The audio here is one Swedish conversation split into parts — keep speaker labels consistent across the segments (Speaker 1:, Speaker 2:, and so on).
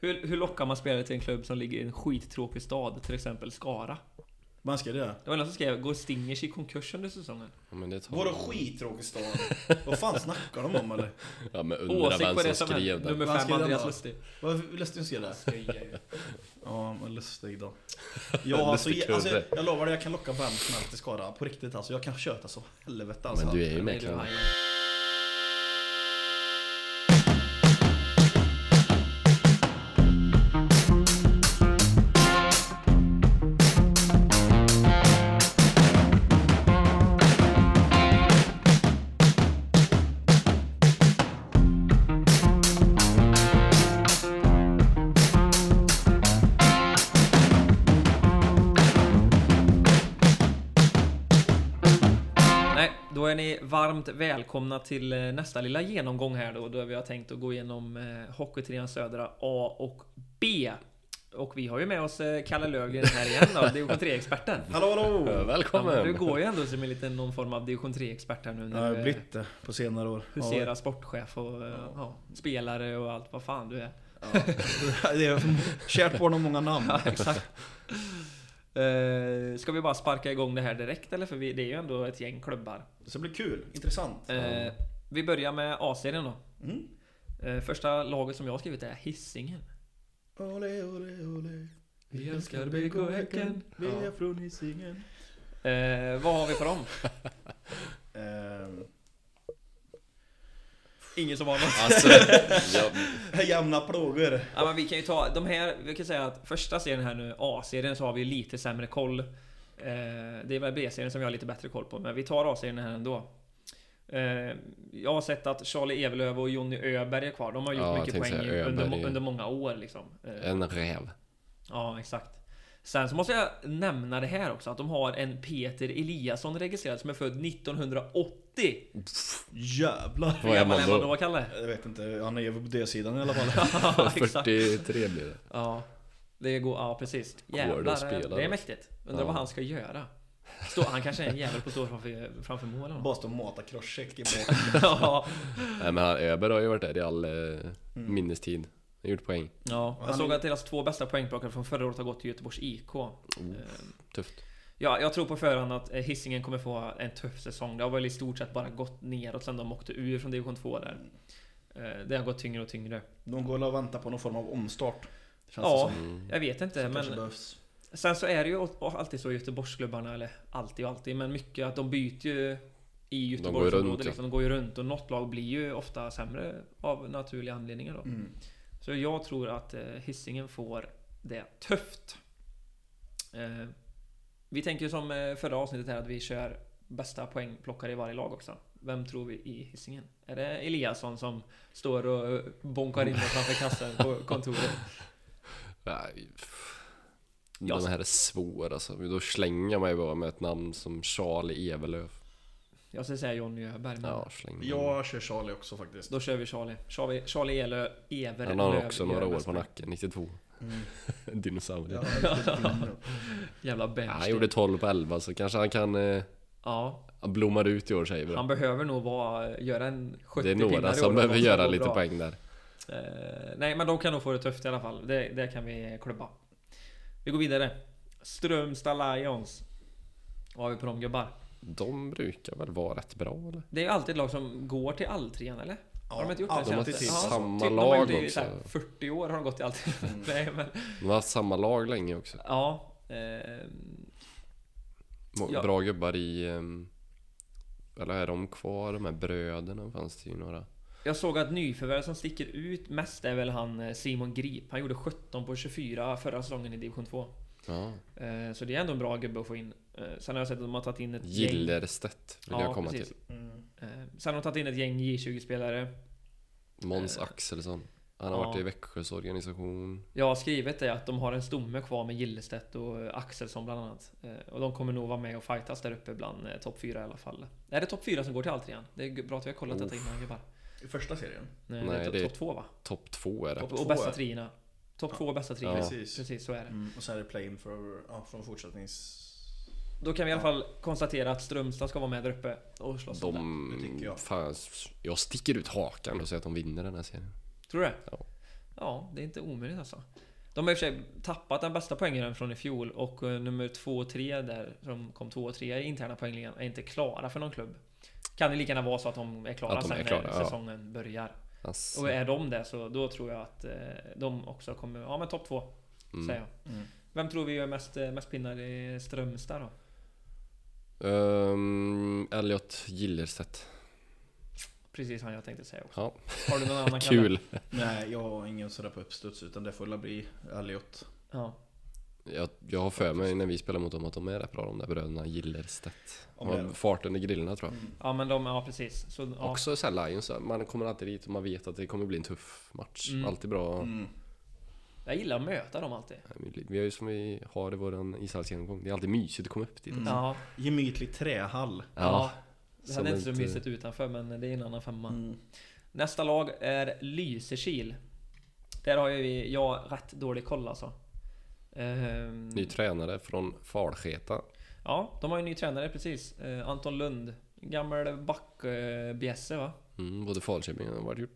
Speaker 1: Hur, hur lockar man spelare till en klubb som ligger i en skittråkig stad, till exempel Skara?
Speaker 2: Man ska det.
Speaker 1: Det var någon som skrev “Går Stingers i konkurs under säsongen?”
Speaker 3: Ja, men det tar...
Speaker 2: Vadå skittråkig stad? Vad fan snackar de om eller?
Speaker 3: Ja men undra
Speaker 1: Åsikt på
Speaker 3: vem
Speaker 1: det
Speaker 3: som
Speaker 1: som hände.
Speaker 3: skrev den.
Speaker 1: Nummer
Speaker 2: Vad
Speaker 1: fem,
Speaker 2: skrev den
Speaker 1: Andreas
Speaker 2: då?
Speaker 1: Lustig.
Speaker 2: Vad läste du skrev det? Ja, men lustig då. Ja, alltså,
Speaker 3: Lustig
Speaker 2: jag, alltså,
Speaker 3: kurre.
Speaker 2: jag lovar dig, jag kan locka vem som helst till Skara. På riktigt alltså. Jag kan köta så helvete alltså.
Speaker 3: Men du är ju
Speaker 1: Nej, det var
Speaker 3: mäklare.
Speaker 1: han. Nej, då är ni varmt välkomna till eh, nästa lilla genomgång här då, då vi har tänkt att gå igenom eh, Hockeytrean Södra A och B. Och vi har ju med oss eh, Kalle Löfgren här igen då, division 3-experten.
Speaker 2: Hallå
Speaker 3: Ja,
Speaker 2: hallå!
Speaker 3: Välkommen!
Speaker 1: Du går ju ändå som en liten någon form av division 3-expert här nu
Speaker 2: Jag har
Speaker 1: när
Speaker 2: ju
Speaker 1: du eh,
Speaker 2: blivit det på senare år.
Speaker 1: huserar sportchef och eh, ja, spelare och allt vad fan du är.
Speaker 2: Ja, det är kärt barn har många namn.
Speaker 1: Ja, exakt. Eh, Ska vi bara sparka igång det här direkt eller? För vi, det är ju ändå ett gäng klubbar.
Speaker 2: Så det blir kul, intressant.
Speaker 1: Eh, Vi börjar med A-serien då.
Speaker 2: Mm.
Speaker 1: Eh, Första laget som jag har skrivit är Hisingen.
Speaker 2: Ole, ole, ole.
Speaker 1: Vi
Speaker 2: älskar BK Häcken. Vi är från Hisingen.
Speaker 1: Eh, vad har vi på dem?
Speaker 2: Ehm,
Speaker 1: Ingen som har något.
Speaker 3: Alltså, jag,
Speaker 2: Jämna plågor.
Speaker 1: Ja, men vi kan ju ta de här. Vi kan säga att första serien här nu, A-serien, så har vi lite sämre koll. Eh, det är väl B-serien som vi har lite bättre koll på, men vi tar A-serien här ändå. Eh, jag har sett att Charlie Evelöv och Jonny Öberg är kvar. De har gjort
Speaker 3: Ja, jag
Speaker 1: mycket
Speaker 3: tänkte
Speaker 1: poäng
Speaker 3: säga
Speaker 1: under,
Speaker 3: Öberg.
Speaker 1: må- under många år liksom. Eh,
Speaker 3: en räv.
Speaker 1: Ja, exakt. Sen så måste jag nämna det här också, att de har en Peter Eliasson registrerad som är född 1980.
Speaker 2: Jävlar.
Speaker 1: Hur
Speaker 3: Vad är
Speaker 1: gammal
Speaker 3: man
Speaker 1: är man då,
Speaker 3: då?
Speaker 1: Kalle?
Speaker 2: Jag vet inte, han är ju på D-sidan i alla fall.
Speaker 1: Ja, exakt.
Speaker 3: 43 blir det.
Speaker 1: Ja, det går... Ja, precis.
Speaker 3: det att
Speaker 1: Jävlar, eh,
Speaker 3: spela
Speaker 1: det är
Speaker 3: då?
Speaker 1: mäktigt. Undrar
Speaker 3: Ja.
Speaker 1: vad han ska göra. Stå, han kanske är en jävel på att stå framför, framför mål eller något.
Speaker 2: Bara stå och mata crosscheck i båten.
Speaker 1: ja,
Speaker 3: Nej men han, Öberg har ju varit där i all eh,
Speaker 1: Mm.
Speaker 3: minnestid. Han har gjort poäng.
Speaker 1: ja,
Speaker 2: Han
Speaker 1: jag såg
Speaker 2: är-
Speaker 1: att deras två bästa poängplockare från förra året har gått till Göteborgs IK. Ehm,
Speaker 3: Oh, Tufft.
Speaker 1: Ja, jag tror på förhand att eh, Hisingen kommer få en tuff säsong. Det har väl i stort sett bara gått neråt sen de åkte ur från division 2 där. Eh, Det har gått tyngre och tyngre.
Speaker 2: De går och väntar på någon form av omstart. Känns
Speaker 1: Ja,
Speaker 2: det som.
Speaker 3: Mm.
Speaker 1: jag vet inte.
Speaker 2: Kanske
Speaker 1: Men
Speaker 2: behövs.
Speaker 1: sen så är det ju alltid så i Göteborgsklubbarna, eller alltid och alltid, men mycket att de byter ju i
Speaker 3: går runt,
Speaker 1: Göteborgsområdet.
Speaker 3: ja.
Speaker 1: Liksom, de går ju runt och något lag blir ju ofta sämre av naturliga anledningar då.
Speaker 2: Mm.
Speaker 1: Så jag tror att eh, Hisingen får det tufft. Eh, Vi tänker ju som eh, förra avsnittet här att vi kör bästa poängplockare i varje lag också. Vem tror vi i Hisingen? Är det Eliasson som står och eh, bonkar in det framför kassen på kontoret?
Speaker 3: Nej, pff.
Speaker 1: Jag-
Speaker 3: Den här är svår alltså. Då slänger jag mig bara med ett namn som Charlie Evelöf.
Speaker 1: Jag skulle säga Jonny Öberg, men
Speaker 3: Ja, slänger.
Speaker 2: Jag kör Charlie också faktiskt.
Speaker 1: då kör vi Charlie. Charlie, Charlie Elö, Ever
Speaker 3: Han har
Speaker 1: Löv
Speaker 3: också
Speaker 1: gör
Speaker 3: några år
Speaker 1: bäst
Speaker 3: på
Speaker 1: poäng.
Speaker 3: nacken, 92.
Speaker 2: Mm.
Speaker 3: Dinosaurie.
Speaker 2: Ja, det är lite kul.
Speaker 1: Jävla bench.
Speaker 3: Ja, han gjorde 12 på 11 så kanske han kan... Eh,
Speaker 1: Ja,
Speaker 3: han blommar ut i år säger vi
Speaker 1: han
Speaker 3: då.
Speaker 1: behöver nog vara, göra en 70
Speaker 3: Det är
Speaker 1: pinnar
Speaker 3: några
Speaker 1: i år
Speaker 3: som
Speaker 1: om
Speaker 3: behöver
Speaker 1: de ska
Speaker 3: göra
Speaker 1: gå
Speaker 3: lite
Speaker 1: bra.
Speaker 3: poäng där.
Speaker 1: Eh, nej, men de kan nog få det tufft i alla fall. Det, det kan vi klubba. Vi går vidare. Strömstad Lions. Vad har vi på dem gubbar?
Speaker 3: De brukar väl vara rätt bra eller?
Speaker 1: Det är ju alltid ett lag som går till alltrean eller?
Speaker 2: Ja,
Speaker 1: har de inte gjort det?
Speaker 2: alltid
Speaker 1: senaste?
Speaker 2: till
Speaker 1: Ja, så-
Speaker 3: samma
Speaker 1: typ, De har
Speaker 3: lag
Speaker 1: ju blivit
Speaker 3: också.
Speaker 1: såhär 40 år har de gått till alltrean.
Speaker 2: Mm.
Speaker 1: nej, men,
Speaker 3: De har haft samma lag länge också.
Speaker 1: ja. ehm,
Speaker 3: Må-
Speaker 1: Ja.
Speaker 3: Bra gubbar i... ehm, Eller är de kvar? De här bröderna fanns det ju några.
Speaker 1: jag såg att nyförvärv som sticker ut mest är väl han eh, Simon Grip. Han gjorde 17 på 24 förra säsongen i division 2.
Speaker 3: Ja.
Speaker 1: Eh, så det är ändå en bra gubbe att få in. Eh, sen har jag sett att de har tagit in ett gäng
Speaker 3: Gillerstedt vill jag komma
Speaker 1: precis.
Speaker 3: till.
Speaker 2: Mm.
Speaker 1: Eh, Sen har de tagit in ett gäng J20-spelare.
Speaker 3: Måns Axelsson. Han har
Speaker 1: Eh, ja.
Speaker 3: varit i Växjös organisation.
Speaker 1: Jag har skrivit det att de har en stomme kvar med Gillestedt och eh, Axelsson bland annat. Eh, Och de kommer nog vara med och fightas där uppe bland eh, topp 4 i alla fall. Är det topp 4 som går till Alltrean? Det är g- bra att vi har kollat detta innan gubbar.
Speaker 2: I första serien?
Speaker 1: Nej,
Speaker 3: Nej,
Speaker 1: det är
Speaker 3: det är
Speaker 1: topp 2 va?
Speaker 3: Topp två är det.
Speaker 2: Topp
Speaker 1: Och
Speaker 2: två,
Speaker 1: bästa
Speaker 2: ja.
Speaker 1: triorna. Topp 2 och bästa triorna.
Speaker 3: Ja.
Speaker 1: Precis.
Speaker 2: Precis.
Speaker 1: Precis, så är det.
Speaker 2: Mm. Och sen är det play-in för, ja, från fortsättnings...
Speaker 1: Då kan vi i alla fall konstatera att Strömstad ska vara med där uppe och slåss om det.
Speaker 3: De...
Speaker 2: det tycker jag.
Speaker 3: Fan, jag sticker ut hakan och säger att de vinner den här serien.
Speaker 1: Tror du det?
Speaker 3: Ja.
Speaker 1: Ja, det är inte omöjligt alltså. De har i och för sig tappat den bästa poängaren från i fjol och eh, nummer två och tre där, som kom två och tre i interna poängligan, är inte klara för någon klubb. Kan det lika gärna vara så att de är klara
Speaker 3: Att de
Speaker 1: sen
Speaker 3: är klara,
Speaker 1: när
Speaker 3: ja.
Speaker 1: säsongen börjar.
Speaker 3: Alltså,
Speaker 1: Och är de det så då tror jag att eh, de också kommer... Ja men topp två,
Speaker 3: mm.
Speaker 1: säger jag.
Speaker 2: Mm.
Speaker 1: Vem tror vi gör mest, eh, mest pinnar i Strömstad då?
Speaker 3: Ehm, Elliot Gillerstedt.
Speaker 1: Precis han jag tänkte säga också.
Speaker 3: Ja,
Speaker 1: Har du någon annan Kalle?
Speaker 3: kul.
Speaker 2: Nej, jag har ingen sådär på uppstuds utan det får väl bli Elliot.
Speaker 1: Ja.
Speaker 3: Jag, jag har för mig när vi spelar mot dem att de är rätt bra de där bröderna Gillerstedt.
Speaker 2: Om
Speaker 3: Om de
Speaker 2: det Mm. är
Speaker 3: har
Speaker 2: de.
Speaker 3: farten i grillorna tror jag.
Speaker 1: ja men de, ja precis. Så, ja.
Speaker 3: Också så här Lions, man kommer alltid dit och man vet att det kommer bli en tuff match.
Speaker 1: Mm.
Speaker 3: Alltid bra.
Speaker 2: Mm.
Speaker 1: Jag gillar att möta dem alltid.
Speaker 3: Vi har ju som vi har i våran ishallsgenomgång, det är alltid mysigt att komma upp dit.
Speaker 2: Mm.
Speaker 1: Ja.
Speaker 2: Gemytlig trähall.
Speaker 1: ja. Det
Speaker 3: som
Speaker 1: hade inte så
Speaker 3: ett,
Speaker 1: mysigt utanför men det är en annan femma.
Speaker 2: Mm.
Speaker 1: Nästa lag är Lysekil. Där har ju vi, jag rätt dålig koll alltså. Ehm,
Speaker 3: Ny tränare från Falsketa.
Speaker 1: ja, de har ju en ny tränare precis. Eh, Anton Lund. Gammal backbjässe va?
Speaker 3: Mm, både Falköping och han har varit gjort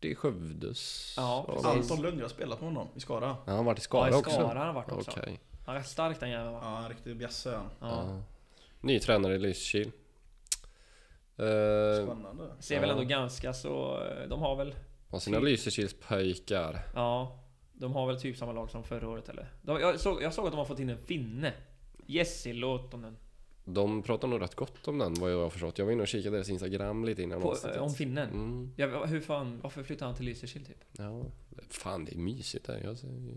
Speaker 3: i Skövdes.
Speaker 1: Ja,
Speaker 3: och
Speaker 1: precis.
Speaker 3: han,
Speaker 2: Anton Lund, jag har spelat med honom i Skara.
Speaker 3: han har varit i Skara,
Speaker 1: Ja, i Skara
Speaker 3: också.
Speaker 1: har han varit också.
Speaker 3: Okej.
Speaker 1: Han är rätt stark den jäveln
Speaker 2: Ja,
Speaker 1: va?
Speaker 2: en riktig bjässe är han.
Speaker 1: Ja.
Speaker 3: Ja. Ny tränare i Lysekil. Eh,
Speaker 2: Spännande.
Speaker 1: Ser väl
Speaker 3: Ja.
Speaker 1: ändå ganska så... eh, De har väl...
Speaker 3: har sina Lysekilspöjkar.
Speaker 1: Ja. De har väl typ samma lag som förra året eller? De, jag, såg, jag såg att de har fått in en finne. Jesse Lotonen.
Speaker 3: De pratar nog rätt gott om den vad jag har förstått. Jag var inne och kikade deras Instagram lite innan
Speaker 1: På,
Speaker 3: avsnittet.
Speaker 1: eh, om finnen.
Speaker 3: Mm,
Speaker 1: Ja, hur fan, varför flyttade han till Lysekil typ?
Speaker 3: ja. Fan det är mysigt där. Jag,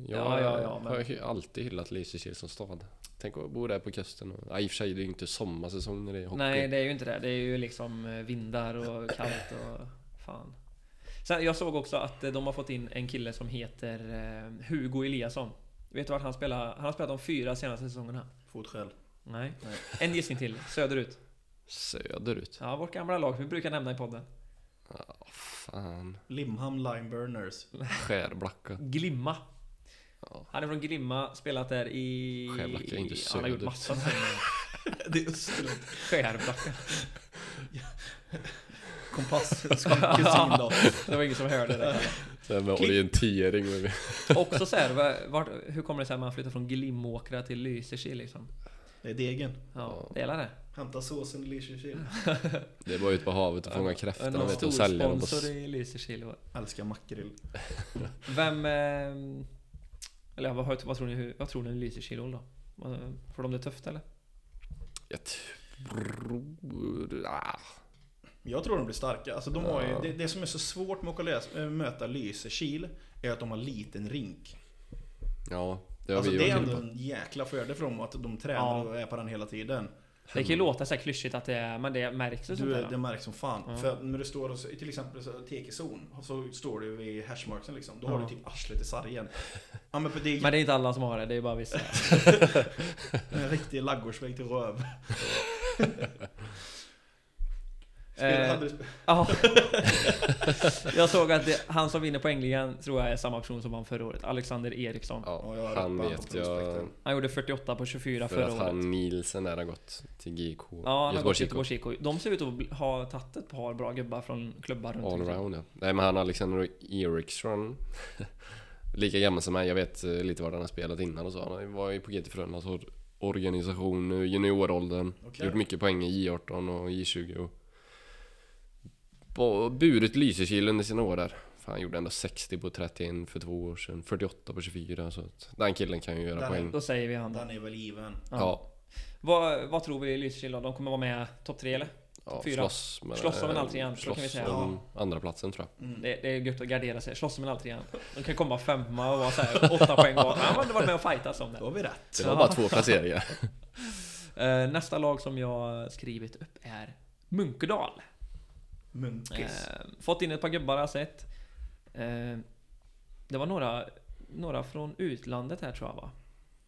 Speaker 3: jag
Speaker 1: Ja, ja, ja,
Speaker 3: har ju alltid hyllat Lysekil som stad. Tänk att bo där på kusten. Och, ja, I och för sig det är ju inte sommarsäsong när det är hockey.
Speaker 1: Nej, det är ju inte det. Det är ju liksom eh, vindar och kallt och fan. Sen, jag såg också att eh, de har fått in en kille som heter eh, Hugo Eliasson. Vet du vart han spelar? Han har spelat de fyra senaste säsongerna.
Speaker 2: Fotskäl.
Speaker 1: Nej.
Speaker 2: Nej.
Speaker 1: En gissning till. Söderut.
Speaker 3: Söderut.
Speaker 1: Ja, vårt gamla lag. Vi brukar nämna i podden.
Speaker 3: Ja, fan.
Speaker 2: Limhamn Lime Burners.
Speaker 3: Skärblacka.
Speaker 1: Glimma.
Speaker 3: Ja.
Speaker 1: Han är från Glimma, spelat där i...
Speaker 3: Skärblacka är inte
Speaker 1: Han har gjort
Speaker 3: söderut.
Speaker 1: massa säsonger.
Speaker 2: Det är österligt.
Speaker 1: Skärblacka.
Speaker 2: Kompass. Kusin då.
Speaker 1: Det var ingen som hörde det.
Speaker 3: Det här med orientering. och-
Speaker 1: Också så här, va- vart, hur kommer det sig att man flyttar från Glimåkra till Lysekil liksom?
Speaker 2: Det är degen.
Speaker 1: Ja,
Speaker 3: Ja.
Speaker 1: det gillar det.
Speaker 2: Hämta såsen i Lysekil.
Speaker 3: Det är bara ut på havet och fånga kräftorna
Speaker 1: Någon
Speaker 3: vet du, och sälja dem på...
Speaker 1: storsponsor i Lysekil. va?
Speaker 2: Älskar makrill.
Speaker 1: Vem... ehm, Eller vad, har- vad tror ni, hur- vad tror ni om Lysekil då? Vad- Får de det tufft eller?
Speaker 3: Jag tror... Ah,
Speaker 2: Jag tror de blir starka. Alltså de har ju,
Speaker 3: Ja.
Speaker 2: det, det som är så svårt med att åka och läs, äh, möta Lysekil är att de har liten rink.
Speaker 3: Ja, det har
Speaker 2: Alltså
Speaker 3: vi
Speaker 2: det
Speaker 3: varit
Speaker 2: är
Speaker 3: inne
Speaker 2: ändå
Speaker 3: på.
Speaker 2: en jäkla fördel för dem att de tränar
Speaker 1: Ja.
Speaker 2: och är på den hela tiden.
Speaker 1: Det kan ju låta så här klyschigt att det är, men det märks ju sånt
Speaker 2: Du,
Speaker 1: där. va?
Speaker 2: det märks som fan.
Speaker 1: Ja.
Speaker 2: För att när du står och, så- till exempel så- TK-zon så står du vid hashmarksen liksom. Då har
Speaker 1: Ja.
Speaker 2: du typ arslet i sargen. Ja men för det är
Speaker 1: Men det är inte alla som har det, det är bara vissa.
Speaker 2: en riktig laggårdsväg till röv.
Speaker 1: Eh,
Speaker 2: Spel, hade du sp-
Speaker 1: Ja. Jag såg att det, han som vinner poängligan tror jag är samma person som vann förra året. Alexander Eriksson.
Speaker 3: Ja,
Speaker 2: Ja, jag har
Speaker 3: han
Speaker 2: rappat
Speaker 3: vet
Speaker 2: på
Speaker 3: jag.
Speaker 2: prospekten.
Speaker 1: Han gjorde 48 på 24
Speaker 3: För
Speaker 1: förra
Speaker 3: att
Speaker 1: året.
Speaker 3: han Nielsen där har gått till GK.
Speaker 1: Ja, han har gått till
Speaker 3: IK.
Speaker 1: Göteborgs IK. De ser ut att bli- ha tagit ett par bra gubbar från klubbar runt omkring.
Speaker 3: Allround ja. Nej men han Alexander Eriksson. Lika gammal som mig. Jag vet eh, lite vad han har spelat innan och så. Han var ju på GT Frölundas or- organisation nu, junioråldern.
Speaker 2: Okej.
Speaker 3: Gjort mycket poäng i J18 och J20 och... Bo- Burit Lysekil under sina år där. Fan, han gjorde ändå 60 på 31 för två år sedan. 48 på 24. Så att den killen kan ju göra
Speaker 2: Den-
Speaker 3: poäng.
Speaker 1: Då säger vi han då.
Speaker 2: Den är väl given.
Speaker 1: Ja.
Speaker 3: ja.
Speaker 1: Vad, vad tror vi i Lysekil då? De kommer vara med topp tre eller?
Speaker 3: Ja,
Speaker 1: Fyra.
Speaker 3: Slåss, med,
Speaker 1: Slåss om en alltrean, så
Speaker 3: slåss
Speaker 1: kan vi säga.
Speaker 3: om andra platsen tror jag.
Speaker 2: Mm.
Speaker 1: Det, det är gött att gardera sig. Slåss som en alltrean. De kan komma femma och vara såhär åtta poäng var. Han har varit med och fightats om det.
Speaker 2: Då har vi rätt.
Speaker 3: Det var bara två placeringar.
Speaker 1: Eh, Nästa lag som jag skrivit upp är Munkedal.
Speaker 2: Munkis.
Speaker 1: Eh, fått in ett par gubbar har jag sett. Eh, det var några, några från utlandet här tror jag va?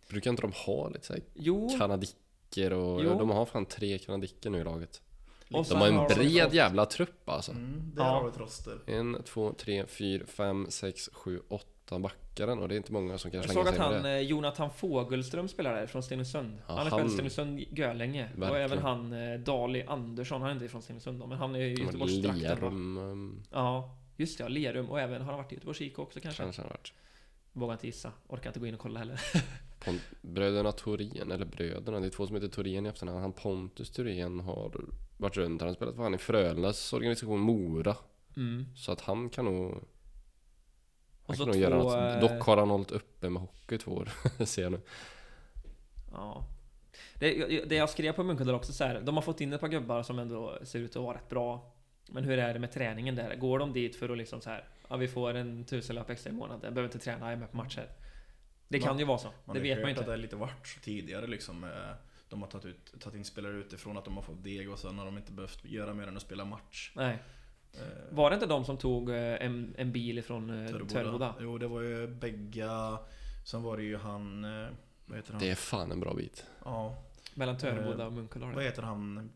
Speaker 3: Brukar inte de ha lite såhär
Speaker 1: Jo,
Speaker 3: kanadicker och...
Speaker 1: Jo.
Speaker 3: De har fan tre kanadicker nu i laget.
Speaker 1: och
Speaker 3: De
Speaker 1: sen
Speaker 3: har en
Speaker 1: har de-
Speaker 3: bred jävla trupp alltså.
Speaker 2: Mm, där
Speaker 1: Ja.
Speaker 2: har vi ett roster.
Speaker 3: En, två, tre, fyra, fem, sex, sju, åtta backar den och det är inte många som kan
Speaker 1: Jag
Speaker 3: slänga
Speaker 1: såg
Speaker 3: sig
Speaker 1: att
Speaker 3: med
Speaker 1: han,
Speaker 3: det.
Speaker 1: eh, Jonathan Fågelström spelar där från Stenungsund.
Speaker 3: Ja,
Speaker 1: han har
Speaker 3: han-
Speaker 1: spelat i Stenungsund görlänge. Och
Speaker 3: Verkligen.
Speaker 1: även han eh, Dali Andersson, han är inte från Stenungsund då, men han är ju
Speaker 3: De har
Speaker 1: Göteborgstrakten va?
Speaker 3: Lerum, um,
Speaker 1: Ja, Just det, ja, Lerum och även har han varit i Göteborgs IK också kanske?
Speaker 3: Kanske han har varit.
Speaker 1: Vågar inte gissa. Orkar inte gå in och kolla heller.
Speaker 3: Pont- bröderna Thorén, eller bröderna, det är två som heter Thorén i efternamn. Han Pontus Thorén har varit runt, han har spelat för han i Frölundas organisation Mora.
Speaker 1: Mm.
Speaker 3: Så att han kan nog... Han
Speaker 1: Och så
Speaker 3: kan nog
Speaker 1: två,
Speaker 3: göra
Speaker 1: eh,
Speaker 3: något. Dock har han hållit uppe med hockey i två år, ser jag nu.
Speaker 1: Ja. Det, jag- det jag skrev på Munkedal också så här, de har fått in ett par gubbar som ändå ser ut att vara rätt bra. Men hur är det med träningen där? Går de dit för att liksom så här, ja vi får en tusenlapp extra i månaden, jag behöver inte träna, jag är med på matcher. Det kan
Speaker 2: Man-
Speaker 1: ju vara så,
Speaker 2: Man
Speaker 1: det
Speaker 2: har
Speaker 1: vet
Speaker 2: hört
Speaker 1: man ju
Speaker 2: att
Speaker 1: inte.
Speaker 2: det är lite vart så tidigare liksom. eh, De har tagit, ut, tagit in spelare utifrån, att de har fått deg och sen har de inte behövt göra mer än att spela match.
Speaker 1: Nej.
Speaker 2: Eh,
Speaker 1: Var det inte de som tog eh, en, en bil ifrån eh, Töreboda?
Speaker 2: Jo, det var ju Begga. Sen var det ju han... eh, Vad heter han?
Speaker 3: Det är fan en bra bit.
Speaker 2: Ja,
Speaker 1: Mellan Töreboda och Munkedal?
Speaker 2: Eh, vad heter han?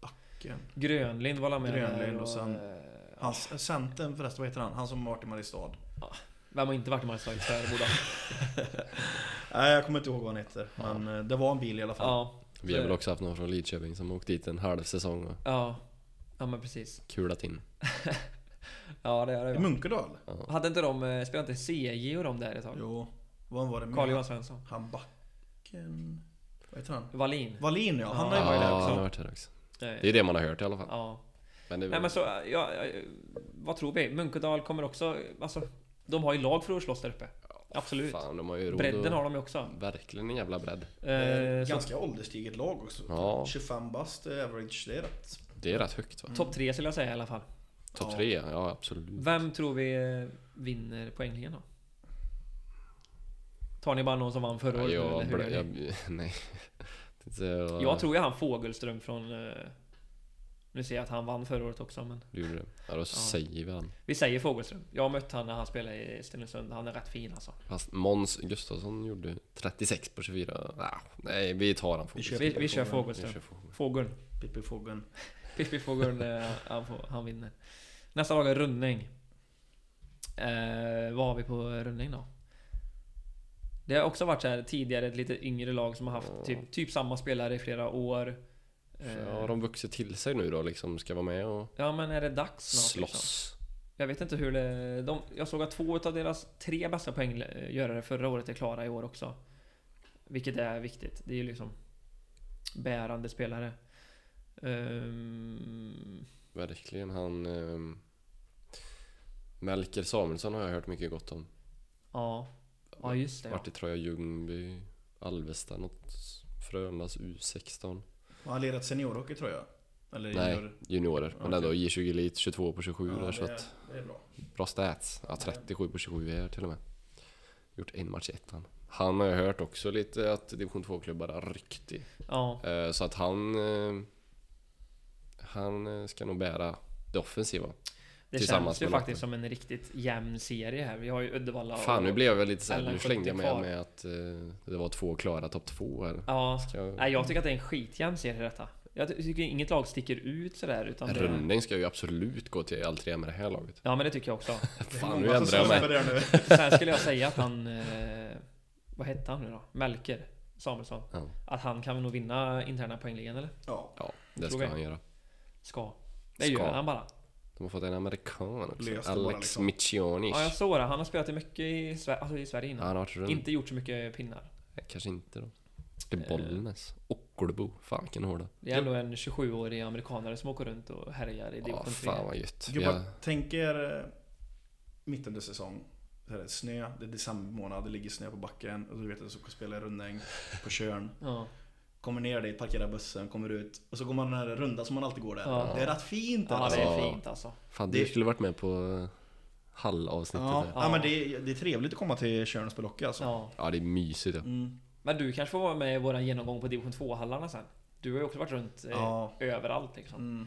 Speaker 2: Backen?
Speaker 1: Grönlind var la med där
Speaker 2: Grönlind och sen-
Speaker 1: eh,
Speaker 2: Hans, centern förresten, vad heter han? Han som har varit i Mariestad.
Speaker 1: Vem har inte varit i Mariestad i Töreboda?
Speaker 2: Nej, jag kommer inte ihåg vad han heter. Men eh, det var en bil i alla fall.
Speaker 1: ja,
Speaker 3: Vi
Speaker 1: Eh.
Speaker 3: har väl också haft någon från Lidköping som har åkt dit en halv säsong och
Speaker 1: ja. Ja men precis.
Speaker 3: kulat in.
Speaker 1: Ja det har det
Speaker 2: I
Speaker 1: varit.
Speaker 2: Munkedal?
Speaker 3: Ja.
Speaker 1: Hade inte de, eh, spelade inte CJ och de där ett tag?
Speaker 2: Jo. Vad var det med?
Speaker 1: Carl Johan Svensson.
Speaker 2: Han backen... Vad heter han?
Speaker 1: Wallin.
Speaker 2: Wallin ja, han
Speaker 1: Ja.
Speaker 2: har ju varit där
Speaker 3: Ja,
Speaker 2: också.
Speaker 3: han har varit här också.
Speaker 1: Eh,
Speaker 3: Det är det man har hört i alla fall.
Speaker 1: Ja.
Speaker 3: Men det är
Speaker 1: Nej
Speaker 3: väl
Speaker 1: men så, ja, ja, vad tror vi? Munkedal kommer också, alltså, de har ju lag för att slåss där uppe. Absolut.
Speaker 3: Fan, de har ju råd
Speaker 1: Bredden
Speaker 3: att-
Speaker 1: har de ju också.
Speaker 3: Mm. Verkligen en jävla bredd.
Speaker 1: Eh, så
Speaker 2: Ganska ålderstiget lag också.
Speaker 3: Ja.
Speaker 2: 25 bast eh, average, det är rätt.
Speaker 3: Det är rätt högt va?
Speaker 1: topp tre skulle jag säga i alla fall.
Speaker 3: Topp
Speaker 2: Ja.
Speaker 3: tre, ja absolut.
Speaker 1: Vem tror vi eh, vinner poängligan då? Tar ni bara någon som vann förra
Speaker 3: Ja,
Speaker 1: året? nu,
Speaker 3: jag,
Speaker 1: eller hur gör
Speaker 3: blä-
Speaker 1: ni?
Speaker 3: jag, nej. Det är-
Speaker 1: jag tror ju han Fågelström från... eh, Nu ser jag att han vann förra året också men...
Speaker 3: Du gjorde det. Ja, då säger vi han.
Speaker 1: Vi säger Fågelström. Jag har mött han när han spelade i Stenungsund. Han är rätt fin alltså.
Speaker 3: Fast Måns Gustafsson gjorde 36 på 24. Ah, nej, vi tar han
Speaker 2: Vi
Speaker 3: fokus.
Speaker 2: kör
Speaker 1: Vi, vi kör
Speaker 2: Fågelström.
Speaker 1: Fågelström.
Speaker 3: Vi kör fokus.
Speaker 1: Fågeln.
Speaker 2: Pippi Fågeln.
Speaker 1: Pippi-fågeln, eh, han, får- han vinner. Nästa lag är rundning. Eh, vad har vi på rundning då? Det har också varit så här tidigare, ett lite yngre lag som har haft
Speaker 3: Ja.
Speaker 1: typ, typ samma spelare i flera år. Eh,
Speaker 3: Ja, har de vuxit till sig nu då liksom? Ska vara med och
Speaker 1: ja men är det dags snart? Liksom?
Speaker 3: slåss?
Speaker 1: Jag vet inte hur det... De, jag såg att två av deras tre bästa poänggörare förra året är klara i år också. Vilket är viktigt. Det är ju liksom bärande spelare. Ehm,
Speaker 3: Verkligen. Han... ehm, Melker Samuelsson har jag hört mycket gott om.
Speaker 1: ja. ja, just det. Ja.
Speaker 3: Vart i Troja Ljungby, Alvesta, något. Frölundas U16.
Speaker 2: Han har lirat seniorhockey tror jag. Eller
Speaker 3: Nej,
Speaker 2: junior.
Speaker 3: juniorer. Men
Speaker 2: Okej.
Speaker 3: ändå J20 Elite 22 på 27 där
Speaker 2: Ja,
Speaker 3: så
Speaker 2: det,
Speaker 3: att...
Speaker 2: är, det är bra.
Speaker 3: Bra stats. Ja, 37 på 27 är till och med. Gjort en match i ettan. Han har jag hört också lite att division 2-klubbar har ryckt i.
Speaker 1: ja.
Speaker 3: Eh, Så att han... eh, Han eh, ska nog bära det offensiva.
Speaker 1: Det
Speaker 3: Tillsammans
Speaker 1: känns ju
Speaker 3: med
Speaker 1: faktiskt som en riktigt jämn serie här. Vi har ju Uddevalla
Speaker 3: Fan, nu blev jag väl lite såhär...
Speaker 1: Allan
Speaker 3: Nu slängde jag med
Speaker 1: kvar.
Speaker 3: mig att eh, det var två klara topp två här.
Speaker 1: Ja.
Speaker 3: Ska jag...
Speaker 1: Nej, jag tycker att det är en skitjämn serie detta. Jag ty- tycker inget lag sticker ut sådär utan det-
Speaker 3: Rundning ska ju absolut gå till all tre med det här laget.
Speaker 1: Ja men det tycker jag också.
Speaker 3: Fan, nu ändrar jag
Speaker 1: som
Speaker 3: mig.
Speaker 1: är-
Speaker 2: mig.
Speaker 1: Sen skulle jag säga att han... Eh, vad hette han nu då? Melker Samuelsson.
Speaker 3: Ja.
Speaker 1: Att han kan nog vinna interna poängligan eller?
Speaker 2: Ja,
Speaker 3: Ja, det
Speaker 1: Tror
Speaker 3: ska
Speaker 1: vi.
Speaker 3: han göra.
Speaker 1: Ska. Det
Speaker 3: Ska.
Speaker 1: gör han bara.
Speaker 3: De har fått en amerikan också.
Speaker 2: Lös det bara,
Speaker 3: Alex
Speaker 2: liksom.
Speaker 3: Michionic.
Speaker 1: Ja jag såg det. Han har spelat i mycket i, Sver- alltså, i Sverige innan.
Speaker 3: Han har varit runt.
Speaker 1: Inte gjort så mycket pinnar.
Speaker 3: Nej, Eh, kanske inte då. Eh. Det är Bollnäs. Ockelbo. Fan vilken hårda.
Speaker 1: Det är ändå en 27-årig amerikanare som åker runt och härjar i
Speaker 3: Ja,
Speaker 1: division 3.
Speaker 3: fan vad gött. Vi
Speaker 2: Gubbar,
Speaker 3: har,
Speaker 2: tänk er eh, mitt under säsong. Det är snö, det är december månad, det ligger snö på backen och du vet att du ska spela i rundning på Tjörn.
Speaker 1: Ja.
Speaker 2: Kommer ner dit, parkerar bussen, kommer ut och så går man den här runda som man alltid går där.
Speaker 1: Ja.
Speaker 2: Det är rätt fint
Speaker 1: Ja,
Speaker 2: alltså.
Speaker 1: det är
Speaker 3: Ja.
Speaker 1: fint alltså.
Speaker 3: fan
Speaker 2: det-
Speaker 3: du skulle varit med på eh, Hall-avsnittet
Speaker 2: Ja,
Speaker 3: där.
Speaker 2: ja, men det är, det är trevligt att komma till Tjörn och spela hockey alltså.
Speaker 1: Ja.
Speaker 3: Ja det är mysigt ja.
Speaker 2: Mm.
Speaker 1: Men du kanske får vara med i våran genomgång på division 2-hallarna sen? Du har ju också varit runt eh,
Speaker 2: Ja.
Speaker 1: överallt liksom.
Speaker 2: Mm.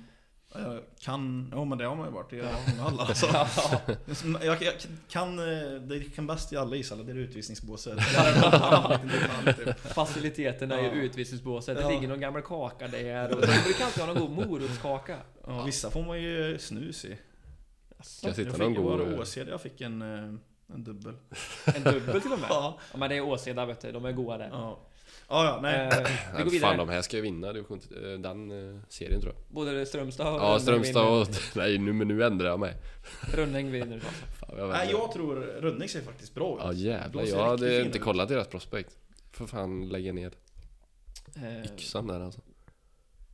Speaker 2: Ja, Jag kan, jo men det har man ju varit i
Speaker 1: Ja.
Speaker 2: alla alltså.
Speaker 1: Ja.
Speaker 2: Jag, jag kan, eh, det kan bäst i alla ishallar, det är utvisningsbåset. Där är det bara en liten detalj, typ.
Speaker 1: Faciliteterna i
Speaker 2: Ja.
Speaker 1: utvisningsbåset. Det
Speaker 2: Ja.
Speaker 1: ligger någon gammal kaka där. Och de brukar alltid ha någon god morotskaka.
Speaker 2: Ja, vissa får man ju snus i.
Speaker 1: Alltså,
Speaker 3: Ska jag sitta
Speaker 2: jag
Speaker 3: någon
Speaker 2: fick, det var
Speaker 3: god... eh?
Speaker 2: Åsed jag fick en, eh, en dubbel.
Speaker 1: en dubbel till och med.
Speaker 2: Ja.
Speaker 1: Ja, men det är Åseda vet du. De är goa där.
Speaker 2: ja. Ja, ja, nej.
Speaker 1: Eh, vi går
Speaker 3: Nej,
Speaker 1: vidare.
Speaker 3: fan, de här ska ju vinna division t- eh, den eh, serien tror jag.
Speaker 1: Både Strömstad och
Speaker 3: Ja,
Speaker 1: Rönnäng vinner.
Speaker 3: Strömstad och... Nej, nu, men nu ändrar jag mig.
Speaker 1: Rönnäng vinner. alltså.
Speaker 3: Fan, jag
Speaker 2: nej,
Speaker 3: vänder.
Speaker 2: jag tror Rönnäck ser faktiskt bra ut.
Speaker 3: Ja, jävlar.
Speaker 2: De ser
Speaker 3: Jag hade
Speaker 2: riktigt
Speaker 3: inte
Speaker 2: fina ut.
Speaker 3: kollat deras prospekt. Får fan lägga ner
Speaker 1: Eh,
Speaker 3: yxan där alltså.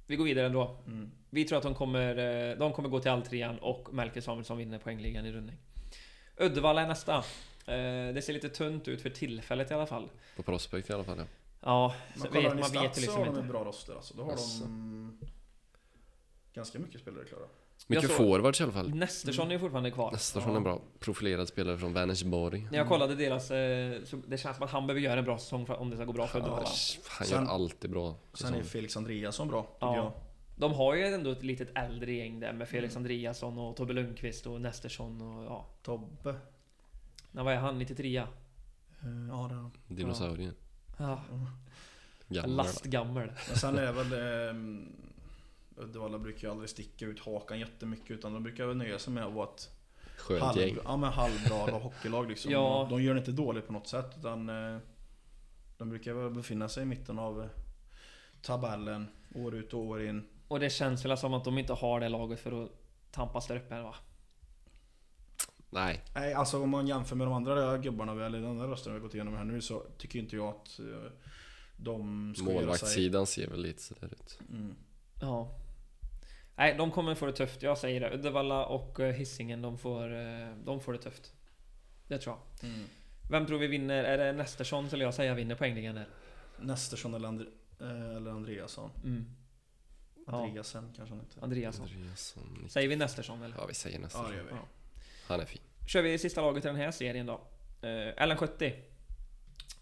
Speaker 1: vi går vidare ändå.
Speaker 2: Mm.
Speaker 1: Vi tror att de kommer, eh, de kommer gå till alltrean och Melker Samuelsson vinner poängligan i Rönnäng. Uddevalla är nästa. Eh, det ser lite tunt ut för tillfället i alla fall.
Speaker 3: På prospekt i alla fall. Ja.
Speaker 1: Ja,
Speaker 2: Men
Speaker 1: så
Speaker 2: kollar
Speaker 1: vet,
Speaker 2: ni
Speaker 1: man vet
Speaker 2: stats
Speaker 1: ju
Speaker 2: så
Speaker 1: liksom
Speaker 2: har de
Speaker 1: inte.
Speaker 2: en bra roster alltså. Då har
Speaker 3: Alltså.
Speaker 2: de ganska mycket spelare klara.
Speaker 1: Jag
Speaker 3: Mycket
Speaker 1: såg-
Speaker 3: forwards i alla fall.
Speaker 1: Nästersson är ju fortfarande kvar.
Speaker 3: Nästersson är
Speaker 2: Ja.
Speaker 3: en bra profilerad spelare från Vänersborg.
Speaker 1: När jag kollade deras... eh, Så det känns som att han behöver göra en bra säsong för, om det ska gå bra för Uddevalla.
Speaker 3: Ja, han gör
Speaker 2: Sen-
Speaker 3: alltid bra.
Speaker 2: Sen är
Speaker 3: säsonger.
Speaker 2: Felix Andreasson bra, tycker
Speaker 1: Ja.
Speaker 2: jag. Mm.
Speaker 1: De har ju ändå ett litet äldre gäng där med Felix Andreasson och Tobbe Lundqvist och Nästersson och ja...
Speaker 2: Tobbe.
Speaker 1: När var är han? 93?
Speaker 2: Eh, Ja, det är han.
Speaker 3: Dinosaurien.
Speaker 1: Ja,
Speaker 3: Gammal.
Speaker 1: lastgammel.
Speaker 2: Men sen är väl... ehm, Uddevalla brukar ju aldrig sticka ut hakan jättemycket utan de brukar väl nöja sig med att vara ett
Speaker 3: Skönt gäng.
Speaker 2: halv, ja, men halvbra hockeylag liksom.
Speaker 1: Ja.
Speaker 2: De gör det inte dåligt på något sätt utan eh, de brukar väl befinna sig i mitten av eh, tabellen år ut och år in.
Speaker 1: Och det känns väl som att de inte har det laget för att tampas där uppe än va?
Speaker 3: Nej.
Speaker 2: Nej, alltså om man jämför med de andra där gubbarna, vi- eller de andra rösterna vi har gått igenom här nu så tycker inte jag att eh, de ska göra sig...
Speaker 3: Målvaktssidan ser väl lite sådär ut.
Speaker 2: Mm.
Speaker 1: Ja. Nej, de kommer få det tufft. Jag säger det. Uddevalla och eh, Hisingen, de får, eh, de får det tufft. Det tror jag.
Speaker 2: Mm.
Speaker 1: Vem tror vi vinner? Är det Nästersson skulle jag säga vinner poängligan där?
Speaker 2: Nästersson eller, Andre, eh, eller Andreasson.
Speaker 1: Mm. Ja,
Speaker 2: Andreasen kanske han heter.
Speaker 1: Andreasson.
Speaker 3: Andreasson.
Speaker 1: Säger vi Nästersson eller?
Speaker 3: Ja, vi säger
Speaker 2: Ja, det
Speaker 3: Nästersson.
Speaker 2: gör vi.
Speaker 1: Ja.
Speaker 3: Han är fin.
Speaker 1: Kör vi sista laget i den här serien då. Eh, LN70.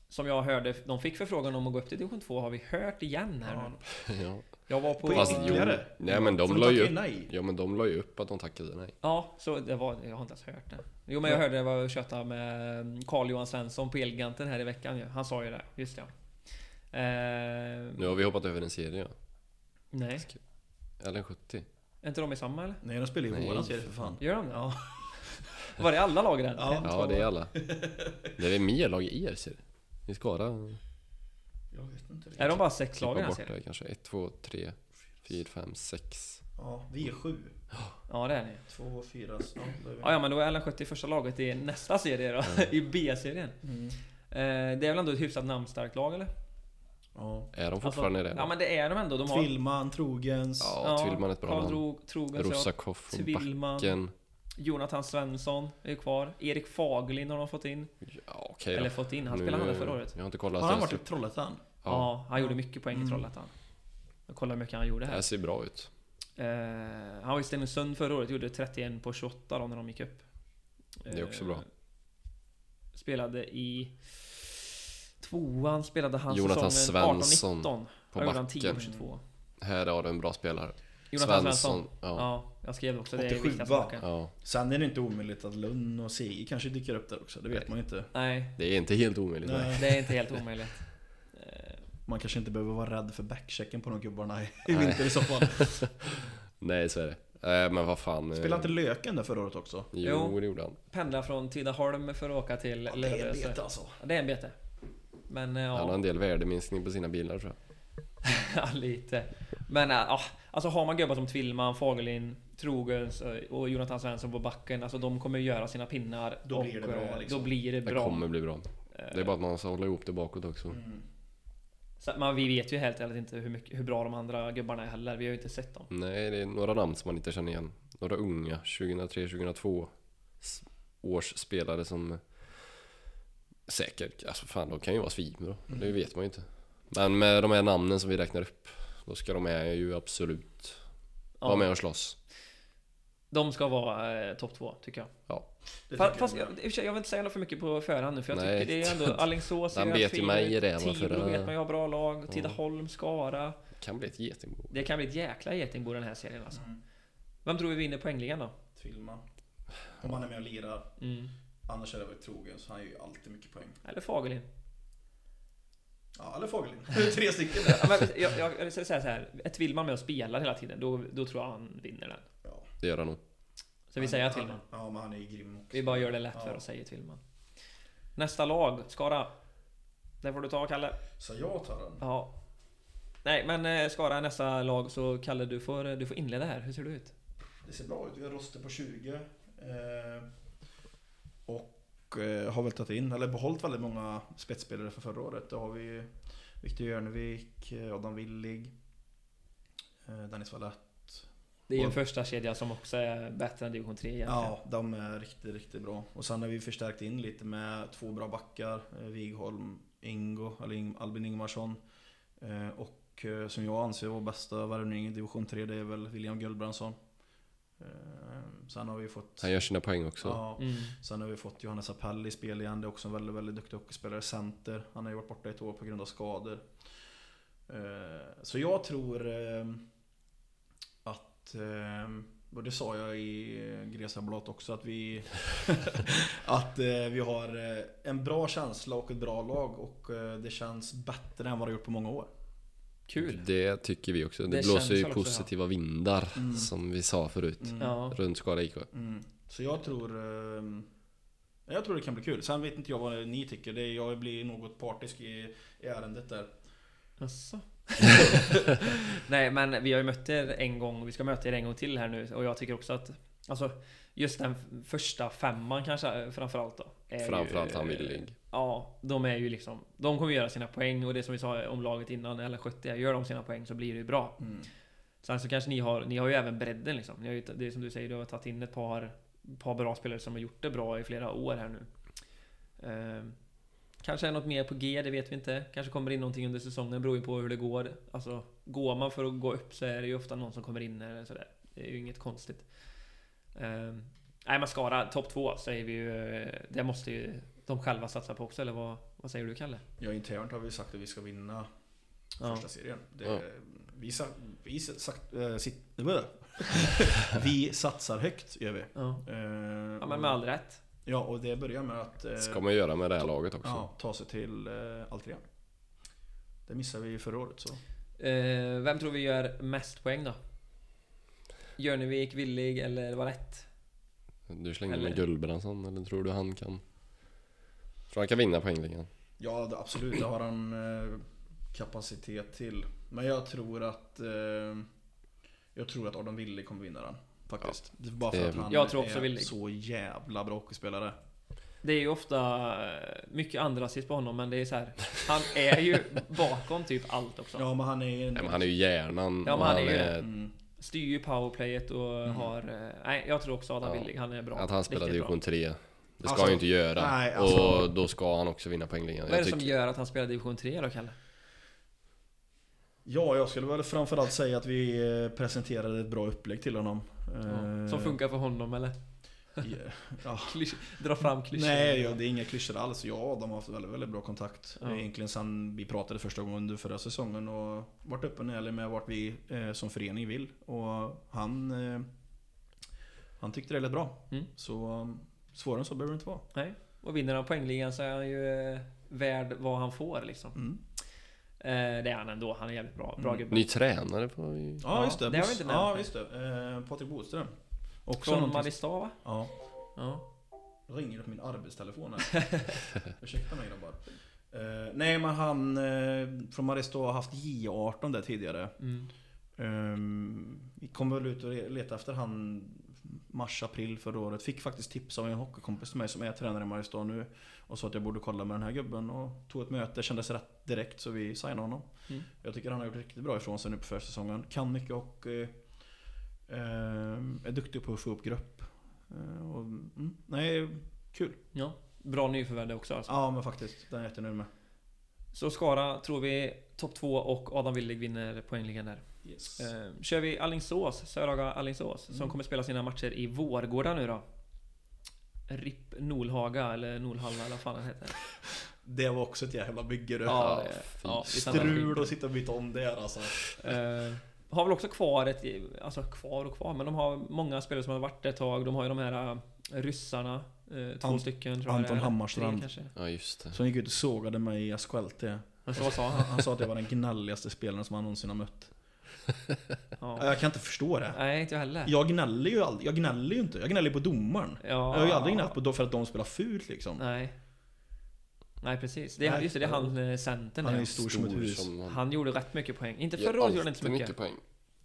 Speaker 1: Som jag hörde, de fick förfrågan om att gå upp till division 2. Har vi hört igen här
Speaker 2: Ja.
Speaker 1: nu?
Speaker 3: ja.
Speaker 1: Jag var på...
Speaker 2: På
Speaker 3: Fast jo,
Speaker 2: ytterligare?
Speaker 3: nej, men de
Speaker 2: Får du
Speaker 3: la
Speaker 2: tacka
Speaker 3: ju
Speaker 2: in Nej.
Speaker 3: ja, men de la ju upp att de tackade nej.
Speaker 1: Ja, så det var... Jag har inte ens hört det. Jo men jag hörde det var att köta med Carl-Johan Svensson på Elgiganten här i veckan ju. Han sa ju det, just ja. Eh,
Speaker 3: Nu har vi hoppat över en serie, ja.
Speaker 1: nej.
Speaker 3: Eller 70.
Speaker 1: Är inte de i samma eller?
Speaker 2: Nej, de spelar ju i
Speaker 3: Nej,
Speaker 2: våran
Speaker 3: för
Speaker 2: serie för fan.
Speaker 1: Gör de det?
Speaker 2: Ja.
Speaker 1: Var det alla lag i den?
Speaker 2: Ja.
Speaker 3: Ja, det är alla. Det är mer lag i er serie. I Skara.
Speaker 2: Jag vet inte riktigt.
Speaker 1: Är de bara sex lag i
Speaker 3: Klippa
Speaker 1: den här
Speaker 3: bort
Speaker 1: serien?
Speaker 3: det kanske. 1, 2, 3, 4, 5, 6.
Speaker 2: Ja, vi är sju.
Speaker 1: Ja det är ni.
Speaker 2: Två, fyra, ja, då är vi.
Speaker 1: Ja, ja men då är LN70 första laget i nästa serie då. I B-serien.
Speaker 2: Mm.
Speaker 1: Eh, det är väl ändå ett hyfsat namnstarkt lag eller?
Speaker 2: ja.
Speaker 3: Är de
Speaker 1: Alltså,
Speaker 3: fortfarande det?
Speaker 1: Ja men det är de ändå. De har...
Speaker 2: Tvillman, Trogens.
Speaker 3: Ja, Tvillman är ett bra
Speaker 1: Karl
Speaker 3: namn.
Speaker 1: Drog, Trogen, Rosa,
Speaker 3: Rosakov från
Speaker 1: Tvillman.
Speaker 3: backen.
Speaker 1: Jonathan Svensson är kvar. Erik Fagelin har de fått in.
Speaker 3: Ja, okej
Speaker 1: Eller
Speaker 3: då.
Speaker 1: fått in. Han
Speaker 3: Nu-
Speaker 1: spelade han där förra året.
Speaker 3: Jag har inte kollat.
Speaker 2: Har han
Speaker 3: deras
Speaker 2: varit i
Speaker 3: trupp.
Speaker 2: Trollhättan?
Speaker 1: Ja,
Speaker 3: Ja.
Speaker 1: han gjorde mycket poäng i
Speaker 2: Mm.
Speaker 1: Trollhättan. Jag kollar hur mycket han gjorde
Speaker 3: Det
Speaker 1: här.
Speaker 3: här ser bra ut.
Speaker 1: Eh, han var i Stenungsund förra året. Gjorde 31 på 28 då när de gick upp.
Speaker 3: Det är också
Speaker 1: Eh,
Speaker 3: bra.
Speaker 1: Spelade i... Tvåan spelade han
Speaker 3: Jonathan
Speaker 1: säsongen
Speaker 3: Svensson
Speaker 1: 18-19.
Speaker 3: På
Speaker 1: På gjorde han 10
Speaker 3: backen.
Speaker 1: på 22.
Speaker 3: Här har du en bra spelare.
Speaker 1: Jonathan Svensson. Ja.
Speaker 3: Ja.
Speaker 1: jag skrev också det. är
Speaker 2: 87,
Speaker 1: viktiga
Speaker 2: va?
Speaker 1: saker.
Speaker 3: ja.
Speaker 2: Sen är det inte omöjligt att Lund och Seger kanske dyker upp där också. Det vet
Speaker 3: Nej.
Speaker 2: man ju inte.
Speaker 1: Nej,
Speaker 3: Det är inte helt omöjligt. Nej.
Speaker 2: Nej.
Speaker 1: det är inte helt omöjligt. Eh,
Speaker 2: Man kanske inte behöver vara rädd för backchecken på de gubbarna i i
Speaker 3: Nej.
Speaker 2: vinter i så fall.
Speaker 3: Nej, så är det. Eh, men vad fan. eh,
Speaker 2: Spelade inte Löken där förra året också?
Speaker 1: Jo.
Speaker 3: Jo, det gjorde han.
Speaker 1: Pendla från Tidaholm för att åka till
Speaker 2: Ja, det är
Speaker 1: Lödöse.
Speaker 2: det alltså.
Speaker 1: Ja, det är en bete. Men eh,
Speaker 3: Han har
Speaker 1: ja,
Speaker 3: en del värdeminskning på sina bilar tror jag.
Speaker 1: ja, lite. Men eh, ja, alltså har man gubbar som Tvillman, Fagerlind, Trogens eh, och Jonathan Svensson på backen. Alltså de kommer ju göra sina pinnar.
Speaker 2: Då
Speaker 1: och,
Speaker 2: blir det bra,
Speaker 1: eh,
Speaker 2: liksom.
Speaker 1: Då blir det
Speaker 3: Det
Speaker 1: bra.
Speaker 3: kommer bli bra.
Speaker 1: Eh,
Speaker 3: Det är bara att man måste hålla ihop det bakåt också.
Speaker 2: Mm.
Speaker 1: så att man, vi vet ju helt ärligt inte hur, mycket, hur bra de andra gubbarna är heller. Vi har ju inte sett dem.
Speaker 3: Nej, det är några namn som man inte känner igen. Några unga 2003-2002 s- års spelare som eh, säkert, alltså fan de kan ju vara svinbra. Det vet man ju inte. Men med de här namnen som vi räknar upp, då ska de här ju absolut vara
Speaker 1: Ja,
Speaker 3: med och slåss.
Speaker 1: de ska vara eh, topp två, tycker jag.
Speaker 2: Det
Speaker 1: Fast,
Speaker 2: tycker
Speaker 1: fast jag, i och för sig, jag vill inte säga något för mycket på förhand nu för jag
Speaker 3: Nej.
Speaker 1: tycker det är ändå Alingsås
Speaker 3: Den bet ju mig i räven
Speaker 1: Tibro
Speaker 3: förra-
Speaker 1: vet man ju har bra lag. Tidaholm, Skara.
Speaker 3: Kan bli ett getingbo.
Speaker 1: Det kan bli ett jäkla getingbo den här serien alltså.
Speaker 2: Mm.
Speaker 1: Vem tror vi vinner poängligan då?
Speaker 2: Filma. Om han är med och lirar.
Speaker 1: Mm.
Speaker 2: Annars är det väl trogen så han gör ju alltid mycket poäng.
Speaker 1: Eller Fagerlind?
Speaker 2: Ja, eller Fagerlind. Tre stycken där.
Speaker 1: Ja, men jag, jag, jag ska säga så här. Är Tvillman med och spelar hela tiden, då, då tror jag han vinner den.
Speaker 2: Ja.
Speaker 3: Det gör han nog.
Speaker 1: Så vi
Speaker 2: Han-
Speaker 1: säger
Speaker 2: han-
Speaker 1: Tvillman.
Speaker 2: Ja, men han är ju grym också.
Speaker 1: Vi bara gör det lätt för
Speaker 2: Ja.
Speaker 1: oss, säger Tvillman. Nästa lag, Skara. Det får du ta Kalle.
Speaker 2: Så jag tar den.
Speaker 1: Ja. Nej men eh, Skara är nästa lag så Kalle du får, du får inleda här. Hur ser du ut?
Speaker 2: Det ser bra ut. Vi har roster på 20. Eh, och eh, har väl tagit in, eller behållit väldigt många spetsspelare från förra året. Då har vi Viktor Jörnevik, eh, Adam Willig, eh, Dennis Wallett.
Speaker 1: Det är ju en
Speaker 2: Och-
Speaker 1: första kedja som också är bättre än division 3 egentligen.
Speaker 2: Ja, de är riktigt, riktigt bra. Och sen har vi förstärkt in lite med två bra backar. eh, Vigholm, Ingo, eller Ing- Albin Ingmarsson. Eh, Och eh, som jag anser var bästa värvningen i division 3, det är väl William Gullbrandsson. Eh, Sen har vi fått...
Speaker 3: Han gör sina poäng också.
Speaker 2: Ja,
Speaker 1: Mm.
Speaker 2: Sen har vi fått Johannes Appell i spel igen. Det är också en väldigt, väldigt duktig hockeyspelare. Center. Han har ju varit borta ett år på grund av skador. Eh, Så jag tror eh, att... eh, Och det sa jag i Gresablatt också att vi... att eh, vi har eh, en bra känsla och ett bra lag och eh, det känns bättre än vad det har gjort på många år.
Speaker 1: Kul.
Speaker 3: Det tycker vi också. Det,
Speaker 1: Det
Speaker 3: blåser
Speaker 1: känns
Speaker 3: ju
Speaker 1: väl också,
Speaker 3: positiva vindar
Speaker 2: Mm.
Speaker 3: som vi sa förut.
Speaker 2: Mm.
Speaker 1: Ja.
Speaker 3: Runt Skara IK.
Speaker 2: Mm. Så jag tror... ehm, Jag tror det kan bli kul. Sen vet inte jag vad ni tycker. Det är, jag blir något partisk i, i ärendet där.
Speaker 1: Jaså? Nej men vi har ju mött er en gång och vi ska möta er en gång till här nu och jag tycker också att Alltså Just den f- första femman kanske eh, framförallt då är ju-
Speaker 3: Framförallt han Willig.
Speaker 1: Ja, de är ju liksom De kommer göra sina poäng och det som vi sa om laget innan, eller 70 Gör de sina poäng så blir det ju bra
Speaker 2: Mm.
Speaker 1: Sen så alltså, kanske ni har, ni har ju även bredden liksom ni har ju, Det är som du säger, du har tagit in ett par Par bra spelare som har gjort det bra i flera år här nu Ehm, Kanske är något mer på G, det vet vi inte Kanske kommer in någonting under säsongen, beror ju på hur det går Alltså, går man för att gå upp så är det ju ofta någon som kommer in eller sådär Det är ju inget konstigt Ehm, Nej men Skara, topp två säger vi ju eh, Det måste ju de själva satsa på också, eller vad, vad säger du Kalle?
Speaker 2: Ja, internt har vi sagt att vi ska vinna
Speaker 1: Ja.
Speaker 2: första serien. Det,
Speaker 3: Ja.
Speaker 2: vi, sa, vi, sa- sagt, eh, sitt, vi satsar högt, gör vi.
Speaker 1: Ja,
Speaker 2: Eh,
Speaker 1: ja men med all rätt
Speaker 2: ja, och det börjar med att eh,
Speaker 3: Ska man göra med det här laget också.
Speaker 2: ja, ta sig till eh, allt igen. Det missade vi ju förra året. Så.
Speaker 1: Eh, vem tror vi gör mest poäng då? Jörnevik, Willig eller Valett?
Speaker 3: Du slängde
Speaker 1: Eller-
Speaker 3: med Gullbrandsson eller tror du han kan? Tror han kan vinna poängligan?
Speaker 2: Ja, det, absolut. Det har han eh, kapacitet till. Men jag tror att eh, jag tror att Adam Willig kommer vinna den. Faktiskt. Det är Bara för
Speaker 3: Det-
Speaker 2: att han
Speaker 1: Jag tror också
Speaker 2: är
Speaker 1: Willig.
Speaker 2: så jävla bra hockeyspelare.
Speaker 1: Det är ju ofta eh, mycket andrasist på honom men det är så här. Han är ju bakom typ allt också.
Speaker 2: Ja, men han är en...
Speaker 3: Nej men han är ju hjärnan.
Speaker 1: Ja, men
Speaker 3: och
Speaker 1: han är ju
Speaker 2: Mm.
Speaker 1: Styr ju powerplayet och har... eh, Nej, jag tror också Adam
Speaker 3: Ja.
Speaker 1: Willig. Han är bra.
Speaker 3: Att han spelar
Speaker 1: Riktigt bra.
Speaker 3: division 3. Det ska
Speaker 2: Alltså,
Speaker 3: han ju inte göra.
Speaker 2: nej, alltså-
Speaker 3: och då ska han också vinna poängligan.
Speaker 1: Vad är
Speaker 3: Jag
Speaker 1: det som
Speaker 3: tycker,
Speaker 1: gör att han spelar division 3 då, Kalle?
Speaker 2: Ja, jag skulle väl framförallt säga att vi eh, presenterade ett bra upplägg till honom. Eh,
Speaker 1: Som funkar för honom eller?
Speaker 2: Ja.
Speaker 1: Klysch, dra fram klyschor.
Speaker 2: Nej, ja, det är inga klyschor alls. Jag och Adam har haft väldigt, väldigt bra kontakt.
Speaker 1: Ja.
Speaker 2: Egentligen sen vi pratade första gången under förra säsongen och varit öppen och ärlig med vart vi eh, som förening vill. Och han, eh, han tyckte det lät bra.
Speaker 1: Mm.
Speaker 2: Så um, svårare än så behöver det inte vara.
Speaker 1: Och vinner han poängligan så är han ju eh, värd vad han får liksom.
Speaker 2: Mm.
Speaker 1: Eh, det är han ändå. Han är jävligt bra. Bra
Speaker 2: Mm.
Speaker 1: gubbe.
Speaker 3: Ny tränare på...
Speaker 2: Ja,
Speaker 1: Ja,
Speaker 2: just det.
Speaker 1: det har vi inte nämnt.
Speaker 2: ja, just det. Eh, Patrik Boström. Också
Speaker 1: Från
Speaker 2: någonting-
Speaker 1: Mariestad va?
Speaker 2: Ja.
Speaker 1: Ja.
Speaker 2: Då ringer det på min arbetstelefon här. Ursäkta mig grabbar. Eh, nej men han eh, från Mariestad har haft J18 där tidigare.
Speaker 1: Mm.
Speaker 2: Eh, vi kom väl ut och letade efter han mars-april förra året. Fick faktiskt tips av en hockeykompis till mig som är tränare i Mariestad nu. Och sa att jag borde kolla med den här gubben och tog ett möte. Kändes rätt direkt så vi signade honom.
Speaker 1: Mm.
Speaker 2: Jag tycker han har gjort riktigt bra ifrån sig nu på försäsongen. Kan mycket och eh, eh, är duktig på att få upp grupp. Eh, och, mm, nej, kul.
Speaker 1: Ja, bra nyförvärv det också alltså.
Speaker 2: Ja men faktiskt, den är jag jättenöjd med.
Speaker 1: Så Skara tror vi topp två och Adam Willig vinner poängligan där.
Speaker 2: Yes.
Speaker 1: Eh, kör vi Alingsås, Sörhaga Alingsås, som
Speaker 2: Mm.
Speaker 1: kommer spela sina matcher i Vårgårda nu då. RIP Nolhaga, eller Nolhalla eller vad fan den heter.
Speaker 2: Det var också ett jävla bygge du.
Speaker 1: Ja,
Speaker 3: ja,
Speaker 1: det-
Speaker 3: fy
Speaker 1: ja, vi snackar skit.
Speaker 2: Strul att sitta och byta om där alltså.
Speaker 1: Eh, har väl också kvar ett... Alltså kvar och kvar, men de har många spelare som har varit där ett tag. De har ju de här eh, ryssarna. eh, två
Speaker 2: Ant-
Speaker 1: stycken tror jag
Speaker 2: Anton
Speaker 1: det är, eller
Speaker 2: Hammarstrand.
Speaker 1: tre kanske.
Speaker 3: Ja just det.
Speaker 2: Så han gick ut och sågade mig i Asquelte.
Speaker 1: Men så sa han.
Speaker 2: Han sa att jag var den gnälligaste spelaren som han någonsin har mött.
Speaker 1: Ja.
Speaker 2: Jag kan inte förstå det.
Speaker 1: Nej, inte jag heller.
Speaker 2: Jag gnäller ju aldrig. Jag gnäller ju inte. Jag gnäller på domaren.
Speaker 1: Ja.
Speaker 2: Jag har ju aldrig gnällt på dem för att de spelar fult liksom.
Speaker 1: Nej. Nej precis. Det, är-
Speaker 2: Nej.
Speaker 1: just det, det är han eh, centern
Speaker 2: Han är
Speaker 1: där.
Speaker 2: ju stor som ett hus.
Speaker 3: som han-
Speaker 1: Han gjorde rätt mycket poäng. Inte
Speaker 3: Gör
Speaker 1: förra året gjorde han inte
Speaker 3: alltid
Speaker 1: så mycket.
Speaker 3: mycket poäng.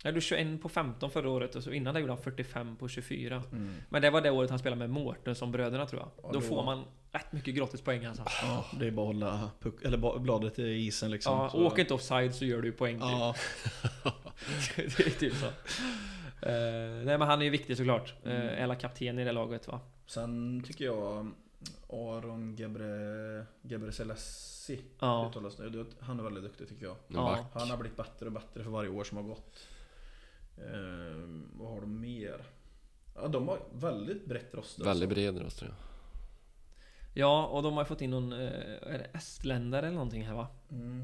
Speaker 1: Han gjorde 21 på 15 förra året och så innan det gjorde han 45 på 24.
Speaker 2: Mm.
Speaker 1: Men det var det året han spelade med Mårten som bröderna tror jag.
Speaker 2: Ja,
Speaker 1: Då
Speaker 2: det
Speaker 1: får
Speaker 2: var-
Speaker 1: man rätt mycket gratispoäng alltså.
Speaker 2: Ja, det är bara att hålla puck, eller ba- bladet i isen liksom.
Speaker 1: Ja,
Speaker 2: så-
Speaker 1: åk inte offside så gör du ju poäng. typ.
Speaker 2: Ja,
Speaker 1: det är typ så. Eh, nej men han är ju viktig såklart.
Speaker 2: Mm.
Speaker 1: Uh, Eller kapten i det laget va.
Speaker 2: Sen tycker jag um, Aron Gebre, Gebre Selassie
Speaker 1: Ja.
Speaker 2: uttalas det. Du- Han är väldigt duktig tycker jag.
Speaker 3: En
Speaker 1: Ja.
Speaker 3: back.
Speaker 2: Han har blivit bättre och bättre för varje år som har gått. Ehm, vad har de mer? Ja, de har väldigt brett rost. alltså.
Speaker 3: Väldigt bred röst tror jag.
Speaker 1: Ja, och de har ju fått in någon, eh, är det estländare eller någonting här va?
Speaker 2: Mm.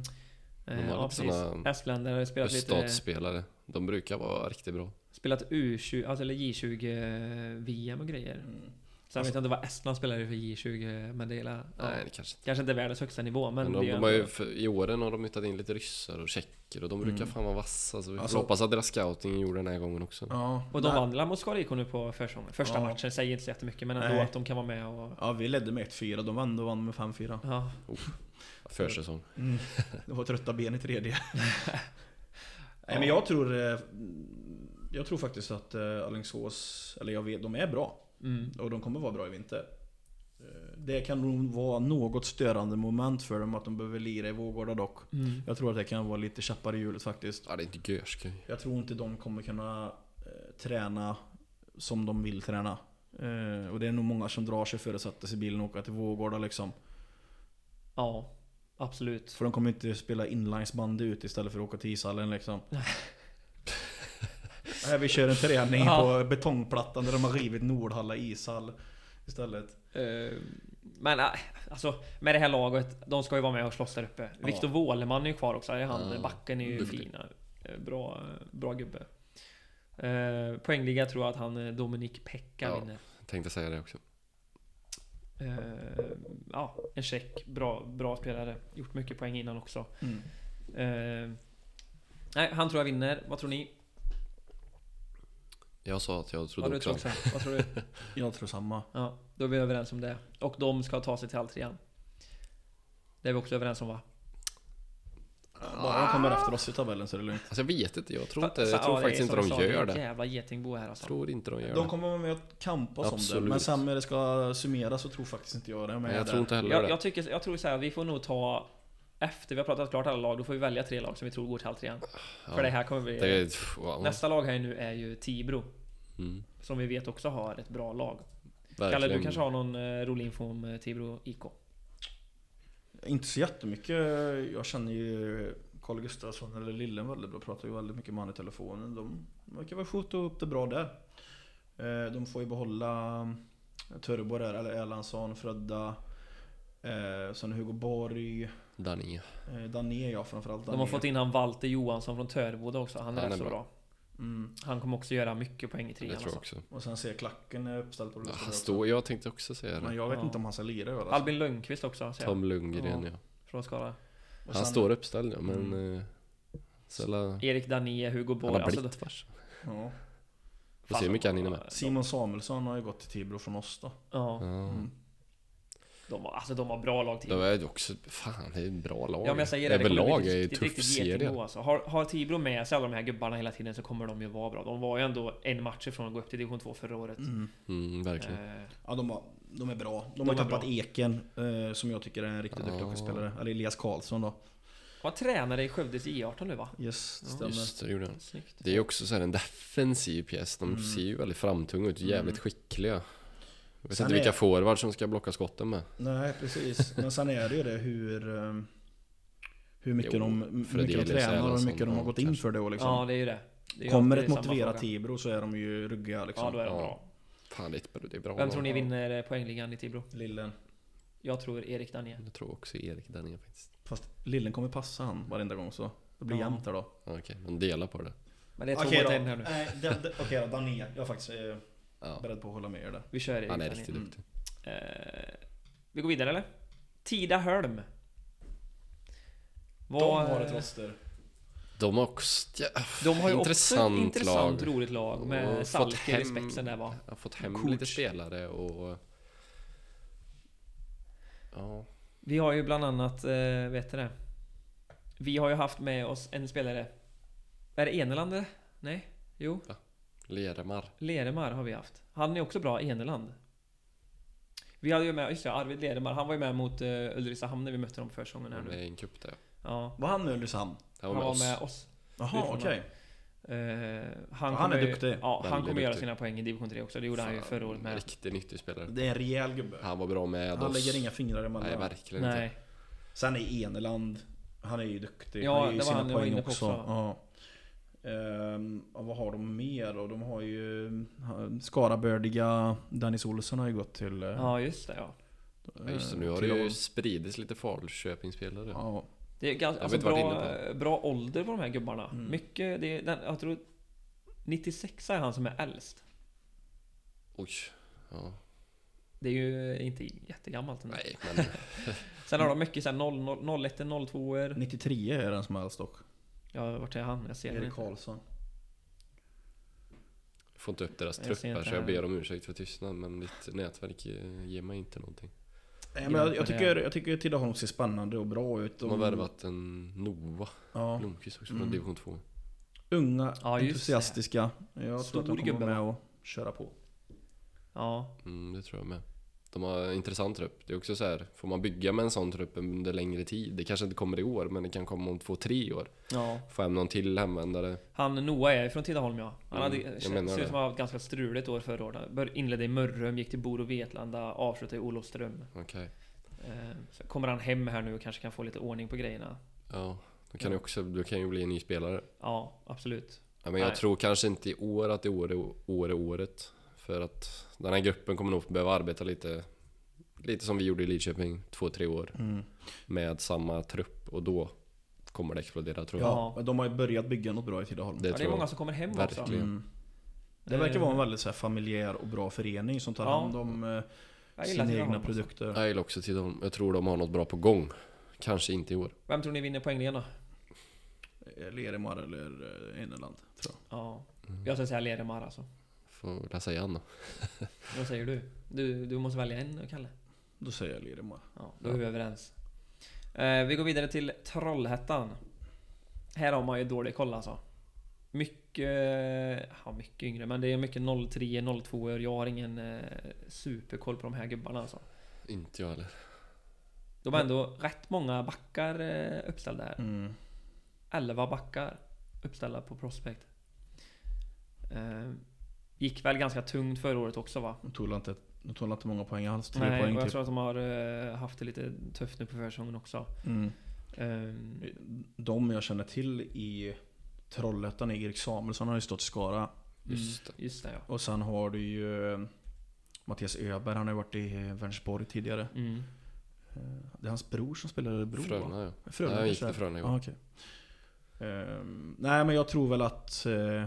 Speaker 1: Eh,
Speaker 3: De har
Speaker 1: ja,
Speaker 3: lite
Speaker 1: precis.
Speaker 3: såna
Speaker 1: Estländare har spelat lite...
Speaker 3: Öststatsspelare. De brukar vara riktigt bra.
Speaker 1: Spelat U20, alltså eller J20-VM och grejer.
Speaker 2: Mm.
Speaker 1: Sen vet jag inte vad Estland spelade för J20, men det är... la- Ja.
Speaker 3: Nej, det kanske inte.
Speaker 1: Kanske inte världens högsta nivå, men...
Speaker 3: Men de,
Speaker 1: det är
Speaker 3: de har ju,
Speaker 1: ändå-
Speaker 3: för, I åren har de hittat in lite ryssar och tjecker och de brukar
Speaker 2: Mm.
Speaker 3: fan vara vassa. Så vi får
Speaker 2: Alltså-
Speaker 3: hoppas att deras scouting gjorde den här gången också.
Speaker 2: Ja,
Speaker 1: Och de
Speaker 2: nej.
Speaker 1: vann väl mot Skara IK nu på försäsongen? Första
Speaker 2: Ja.
Speaker 1: matchen säger inte så jättemycket, men ändå
Speaker 2: Nej.
Speaker 1: att de kan vara med och...
Speaker 2: Ja, vi ledde med 1-4. De vann och vann med 5-4.
Speaker 1: Ja.
Speaker 3: Försäsong.
Speaker 2: Mm. Det var trötta ben i tredje. Nej men jag tror... eh, Jag tror faktiskt att eh, Alingsås, eller jag vet, de är bra.
Speaker 1: Mm.
Speaker 2: Och de kommer vara bra i vinter. Eh, Det kan nog vara något störande moment för dem att de behöver lira i Vårgårda dock.
Speaker 1: Mm.
Speaker 2: Jag tror att det kan vara lite käppar i hjulet faktiskt.
Speaker 3: Ja, det är inte görskoj.
Speaker 2: Jag tror inte de kommer kunna eh, träna som de vill träna. Eh, och det är nog många som drar sig för att sätta sig i bilen och åka till Vårgårda liksom.
Speaker 1: Ja. Absolut.
Speaker 2: För de kommer inte spela inlinesbandy ut istället för att åka till ishallen liksom. Nej, vi kör en träning
Speaker 1: Ja.
Speaker 2: på betongplattan där de har rivit Nordhalla ishall istället.
Speaker 1: Eh, Men eh, alltså, med det här laget, de ska ju vara med och slåss där uppe.
Speaker 2: Ja.
Speaker 1: Viktor Wåhleman är ju kvar också. Det är Han,
Speaker 3: Ja,
Speaker 1: Backen är ju
Speaker 3: duktig.
Speaker 1: fin. Eh, Bra, eh, bra gubbe. Eh, Poängliga tror jag att han eh, Dominik Pekka
Speaker 3: Ja.
Speaker 1: vinner.
Speaker 3: Tänkte säga det också.
Speaker 1: Eh, Ja, en check. Bra, bra spelare. Gjort mycket poäng innan också.
Speaker 2: Mm.
Speaker 1: Eh, Nej, han tror jag vinner. Vad tror ni?
Speaker 3: Jag sa att jag
Speaker 1: Vad
Speaker 3: trodde
Speaker 1: du
Speaker 3: också
Speaker 1: tror
Speaker 3: han.
Speaker 1: också? Vad tror du?
Speaker 2: Jag tror samma.
Speaker 1: Ja, då är vi överens om det. Och de ska ta sig till alltrean. Det är vi också överens om va?
Speaker 2: Bara de kommer efter oss i tabellen så är det lugnt.
Speaker 3: Alltså jag vet inte, jag tror, inte,
Speaker 1: Fa-
Speaker 3: jag tror
Speaker 1: ja, det
Speaker 3: faktiskt
Speaker 1: är
Speaker 3: inte
Speaker 1: som
Speaker 3: de
Speaker 1: du sa, är
Speaker 3: gör
Speaker 1: ett
Speaker 3: det.
Speaker 1: jävla getingbo här alltså.
Speaker 3: Tror inte de gör
Speaker 2: De
Speaker 3: det.
Speaker 2: kommer vara med och kampa om det.
Speaker 3: Absolut.
Speaker 2: Men sen när det ska summeras så tror faktiskt inte jag det. Men
Speaker 3: Nej, jag tror inte heller
Speaker 1: Jag,
Speaker 3: det.
Speaker 1: jag, tycker, jag tror så här, vi får nog ta... Efter vi har pratat klart alla lag, då får vi välja tre lag som vi tror går till alltrean.
Speaker 3: Ja.
Speaker 1: För det här kommer bli...
Speaker 3: Det är, pff, wow.
Speaker 1: Nästa lag här nu är ju Tibro.
Speaker 3: Mm,
Speaker 1: Som vi vet också har ett bra lag.
Speaker 3: verkligen.
Speaker 1: Kalle, du kanske har någon eh, rolig info om eh, Tibro IK?
Speaker 2: Inte så jättemycket. Jag känner ju Carl Gustafsson eller Lillen väldigt bra. Pratar ju väldigt mycket med han i telefonen. De verkar väl skjuta upp det bra där. Eh, De får ju behålla eh, Törbo där, eller Erlandsson, Fredda. Eh, Sen Hugo Borg.
Speaker 3: Danny.
Speaker 2: eh, Dané ja, framförallt.
Speaker 1: De har fått in han Walter Johansson från Töreboda också. Han är,
Speaker 3: Han är
Speaker 1: rätt så
Speaker 3: bra.
Speaker 1: bra.
Speaker 2: Mm.
Speaker 1: Han kommer också göra mycket poäng i
Speaker 3: Det
Speaker 1: trean.
Speaker 3: tror jag
Speaker 1: Alltså.
Speaker 3: också.
Speaker 2: Och sen ser klacken är uppställd på
Speaker 3: Ja,
Speaker 2: Luleå
Speaker 3: han
Speaker 2: också.
Speaker 3: står, jag tänkte också säga
Speaker 2: Men
Speaker 3: det.
Speaker 2: jag vet
Speaker 1: Ja.
Speaker 2: inte om han ska lira i år, alltså.
Speaker 1: Albin Lundqvist också, säger jag.
Speaker 3: Tom Lundgren ja.
Speaker 1: Från Skara.
Speaker 2: Och
Speaker 3: Han
Speaker 2: sen-
Speaker 3: står uppställd ja, men... eh, Sällan...
Speaker 1: Erik Dané, Hugo Borg.
Speaker 3: Han har
Speaker 1: Mm. alltså,
Speaker 3: blitt vars.
Speaker 2: Ja.
Speaker 3: Får se hur mycket han hinner med.
Speaker 2: Simon Samuelsson har ju gått till Tibro från oss då.
Speaker 1: Ja,
Speaker 3: Ja.
Speaker 2: Mm.
Speaker 1: de har, alltså de har bra lag
Speaker 3: Det
Speaker 1: Tibro.
Speaker 3: var ju också, fan det är ett bra lag.
Speaker 1: Ja men jag säger det, det kommer
Speaker 3: Överlag
Speaker 1: bli
Speaker 3: är ju
Speaker 1: riktigt,
Speaker 3: tuff
Speaker 1: riktigt getingbo
Speaker 3: serie.
Speaker 1: alltså. har, har Tibro med sig alla de här gubbarna hela tiden så kommer de ju vara bra. De var ju ändå en match ifrån att gå upp till division 2 förra året.
Speaker 2: Mm.
Speaker 3: Mm, verkligen.
Speaker 1: Eh,
Speaker 2: Ja, de, har, de är bra. De,
Speaker 1: De
Speaker 2: har
Speaker 1: är
Speaker 2: tappat
Speaker 1: bra.
Speaker 2: Eken, eh, som jag tycker är en riktigt duktig
Speaker 3: Ja.
Speaker 2: hockeyspelare. Eller Elias Karlsson då.
Speaker 1: han tränade i Skövdes J18 nu va?
Speaker 2: Yes, det
Speaker 1: Ja.
Speaker 2: stämmer.
Speaker 3: Just det, det gjorde han.
Speaker 1: Snyggt.
Speaker 3: Det är ju också så här en defensiv pjäs. De
Speaker 2: Mm.
Speaker 3: ser ju väldigt framtunga ut, jävligt
Speaker 2: Mm.
Speaker 3: skickliga. Jag vet
Speaker 2: Sen
Speaker 3: inte
Speaker 2: är-
Speaker 3: vilka forwards som ska blocka skotten med.
Speaker 2: Nej, precis. Men sen är det ju det hur... eh, Hur mycket,
Speaker 3: Jo,
Speaker 2: de, hur
Speaker 3: Fredelius,
Speaker 2: mycket de tränar och hur
Speaker 3: Erlandsson,
Speaker 2: mycket de har
Speaker 3: ja,
Speaker 2: gått in
Speaker 3: kanske.
Speaker 2: för det år liksom.
Speaker 1: Ja det är ju det. det är ju
Speaker 2: Kommer
Speaker 1: alltid
Speaker 2: ett
Speaker 1: samma
Speaker 2: motiverat
Speaker 1: fråga.
Speaker 2: Tibro så är de ju ruggiga liksom.
Speaker 1: Ja då är de
Speaker 3: Ja.
Speaker 1: bra.
Speaker 3: Fan det är ett- det är bra.
Speaker 1: Vem
Speaker 3: lag.
Speaker 1: tror ni vinner eh, poängligan i Tibro?
Speaker 2: Lillen.
Speaker 1: Jag tror Erik Dané.
Speaker 3: Jag tror också Erik där nere faktiskt.
Speaker 2: Fast Lillen kommer passa han varenda gång så. Det blir
Speaker 1: Ja.
Speaker 2: jämnt där då.
Speaker 3: Ja, Okej, men dela på det.
Speaker 1: Men det är två
Speaker 2: Okej
Speaker 1: mot
Speaker 2: då.
Speaker 1: en här nu.
Speaker 2: Nej, det- det- Okej då, Dané. Jag är faktiskt eh,
Speaker 3: Ja,
Speaker 2: beredd på att hålla med er där.
Speaker 1: Vi kör Erik
Speaker 3: han är
Speaker 1: Dané.
Speaker 3: riktigt
Speaker 2: Mm.
Speaker 3: duktig.
Speaker 1: Eh, vi går vidare eller? Tidaholm.
Speaker 2: De
Speaker 1: Vad-
Speaker 2: har ett roster.
Speaker 3: De har också... Ja,
Speaker 1: De har ju
Speaker 3: intressant
Speaker 1: också ett intressant
Speaker 3: lag.
Speaker 1: roligt lag
Speaker 3: Och
Speaker 1: med
Speaker 3: fått
Speaker 1: Salker i
Speaker 3: hem-
Speaker 1: spetsen där va?
Speaker 3: Jag har fått hem
Speaker 2: Coach.
Speaker 3: lite spelare och... Ja.
Speaker 1: Vi har ju bland annat, eh, vet du det? Vi har ju haft med oss en spelare. Är det Enelander? Nej? Jo.
Speaker 3: Lermar.
Speaker 1: Leremar har vi haft. Han är också bra, Eneland. Vi hade ju med, just det, Arvid Leremar. Han var ju med mot eh, Ulricehamn när vi mötte dem försäsongen här
Speaker 3: Det
Speaker 1: nu.
Speaker 3: är en kupp där.
Speaker 1: Ja,
Speaker 2: Var han med Ulricehamn?
Speaker 3: Han
Speaker 1: han
Speaker 3: var med
Speaker 1: var
Speaker 3: oss.
Speaker 1: med oss.
Speaker 2: Jaha,
Speaker 1: Utifrån
Speaker 2: okej.
Speaker 1: Eh, han,
Speaker 2: är
Speaker 1: kommer ju-
Speaker 2: duktig.
Speaker 1: Ja, han
Speaker 3: Väldigt
Speaker 1: kommer göra
Speaker 3: duktig.
Speaker 1: sina poäng i division 3 också. Det gjorde han ju
Speaker 3: Fan,
Speaker 1: förra året med.
Speaker 3: Riktigt nyttig spelare.
Speaker 2: Det är en rejäl gubbe.
Speaker 3: Han var bra med
Speaker 2: Han
Speaker 3: oss.
Speaker 2: lägger inga fingrar
Speaker 3: Nej,
Speaker 2: emellan.
Speaker 3: verkligen inte.
Speaker 1: Nej.
Speaker 2: Sen är Eneland, han är ju duktig.
Speaker 1: Ja,
Speaker 2: han gör ju
Speaker 1: det var
Speaker 2: sina
Speaker 1: han jag var
Speaker 2: poäng
Speaker 1: inne på
Speaker 2: också.
Speaker 1: också.
Speaker 2: Ja. Ehm, och vad har de mer då? De har ju Skarabördiga Dennis Olsson har ju gått till... eh,
Speaker 1: Ja, just det. Ja.
Speaker 3: Ja, just det, nu har det
Speaker 2: till
Speaker 3: ju
Speaker 2: oss.
Speaker 3: spridits lite Falköpingsspelare.
Speaker 2: Ja.
Speaker 1: Det är ganska,
Speaker 3: Jag
Speaker 1: alltså,
Speaker 3: vet vad du är
Speaker 1: bra,
Speaker 3: inne
Speaker 1: bra ålder på de här gubbarna.
Speaker 2: Mm.
Speaker 1: Mycket, det är, den, jag tror 96 är han som är äldst.
Speaker 3: Oj. Ja.
Speaker 1: Det är ju inte jättegammalt ändå.
Speaker 3: Nej, men
Speaker 1: Sen har de mycket så här 00 01 02 er
Speaker 2: 93 är den som är äldst dock.
Speaker 1: Ja, vart är han? Jag ser den
Speaker 2: Erik
Speaker 1: inte.
Speaker 2: Karlsson.
Speaker 3: jag får inte upp deras
Speaker 1: Jag
Speaker 3: trupp
Speaker 1: ser inte
Speaker 3: här så jag
Speaker 1: här.
Speaker 3: ber om ursäkt för tystnad men ditt nätverk eh, ger mig inte någonting.
Speaker 2: Nej, men jag,
Speaker 1: Grann
Speaker 2: jag,
Speaker 1: på det.
Speaker 2: tycker, jag tycker Tidaholm ser spännande och bra ut.
Speaker 3: De har värvat en Noah
Speaker 2: Ja,
Speaker 3: Blomqvist också
Speaker 2: Mm.
Speaker 3: från division 2.
Speaker 2: unga,
Speaker 1: Ja, just det.
Speaker 2: entusiastiska. Jag tror att de
Speaker 1: Stor
Speaker 2: kommer
Speaker 1: gubbe,
Speaker 2: med och köra på.
Speaker 1: Ja,
Speaker 3: Mm, det tror jag med. De har en intressant trupp. Det är också så här, får man bygga med en sån trupp under längre tid? Det kanske inte kommer i år, men det kan komma om två, tre år.
Speaker 1: ja.
Speaker 3: Får hem någon till hemvändare.
Speaker 1: Han Noah är från Tidaholm ja. Han
Speaker 3: Mm,
Speaker 1: hade,
Speaker 3: jag
Speaker 1: ser
Speaker 3: menar
Speaker 1: ut som
Speaker 3: det.
Speaker 1: att han haft ett ganska struligt år förra året. Han bör- Inledde i Mörrum, gick till Bor och Vetlanda, avslutade i Olofström.
Speaker 3: Okej.
Speaker 1: Eh, så kommer han hem här nu och kanske kan få lite ordning på grejerna.
Speaker 3: Ja, då kan, det också, då kan ju bli en ny spelare.
Speaker 1: Ja, absolut.
Speaker 3: Ja, men jag
Speaker 1: Nej.
Speaker 3: tror kanske inte i år att det är år, år är året. För att den här gruppen kommer nog behöva arbeta lite Lite som vi gjorde i Lidköping, två, tre år
Speaker 2: Mm.
Speaker 3: med samma trupp och då kommer det explodera tror jag.
Speaker 2: Ja, men de har ju börjat bygga något bra i Tidaholm.
Speaker 3: Det
Speaker 1: Ja, det är
Speaker 3: tror
Speaker 1: många
Speaker 3: jag.
Speaker 1: som kommer hem också.
Speaker 3: Verkligen.
Speaker 2: Mm. Det verkar vara en
Speaker 1: Eh,
Speaker 2: väldigt så här familjär och bra förening som tar
Speaker 1: Ja.
Speaker 2: hand om eh,
Speaker 1: jag gillar
Speaker 2: sina
Speaker 1: Tidaholm
Speaker 2: egna
Speaker 1: också.
Speaker 2: produkter.
Speaker 3: Jag gillar också till dem. Jag tror de har något bra på gång. Kanske inte i år.
Speaker 1: Vem tror ni vinner poängligan då?
Speaker 2: Eh, Leremar eller eh, Eneland. Tror
Speaker 1: Ja, jag ska säga Leremar alltså.
Speaker 3: Får läsa igen då.
Speaker 1: Vad säger du? du? Du måste välja en, Kalle.
Speaker 2: jag. Då säger jag Leremar.
Speaker 1: Ja, då är vi överens. Eh, vi går vidare till Trollhättan. Här har man ju dålig koll alltså. Mycket... Ja, mycket yngre, men det är mycket 03 02 Jag har ingen eh, superkoll på de här gubbarna alltså.
Speaker 3: Inte jag heller.
Speaker 1: De har ändå rätt många backar eh, uppställda här.
Speaker 2: Mm.
Speaker 1: 11 backar uppställda på Prospect. Eh, gick väl ganska tungt förra året också va?
Speaker 2: De tog inte, de tog inte många poäng alls. Tre
Speaker 1: Nej,
Speaker 2: poäng
Speaker 1: och jag
Speaker 2: typ.
Speaker 1: tror att de har eh, haft det lite tufft nu på försäsongen också.
Speaker 2: Mm.
Speaker 1: Ehm,
Speaker 2: De jag känner till i Trollhättan, Erik Samuelsson har ju stått i Skara.
Speaker 3: Just det.
Speaker 1: mm, Just det ja.
Speaker 2: Och sen har du ju eh, Mattias Öberg, han har ju varit i Vänersborg tidigare.
Speaker 1: Mm.
Speaker 2: Eh, Det är hans bror som spelar i Örebro va?
Speaker 3: Frölunda ja.
Speaker 2: Frölunda
Speaker 3: Nej, jag gick
Speaker 2: kanske
Speaker 3: till Frölunda i
Speaker 2: Ja,
Speaker 3: år.
Speaker 2: okej. Ehm, nej, men jag tror väl att eh,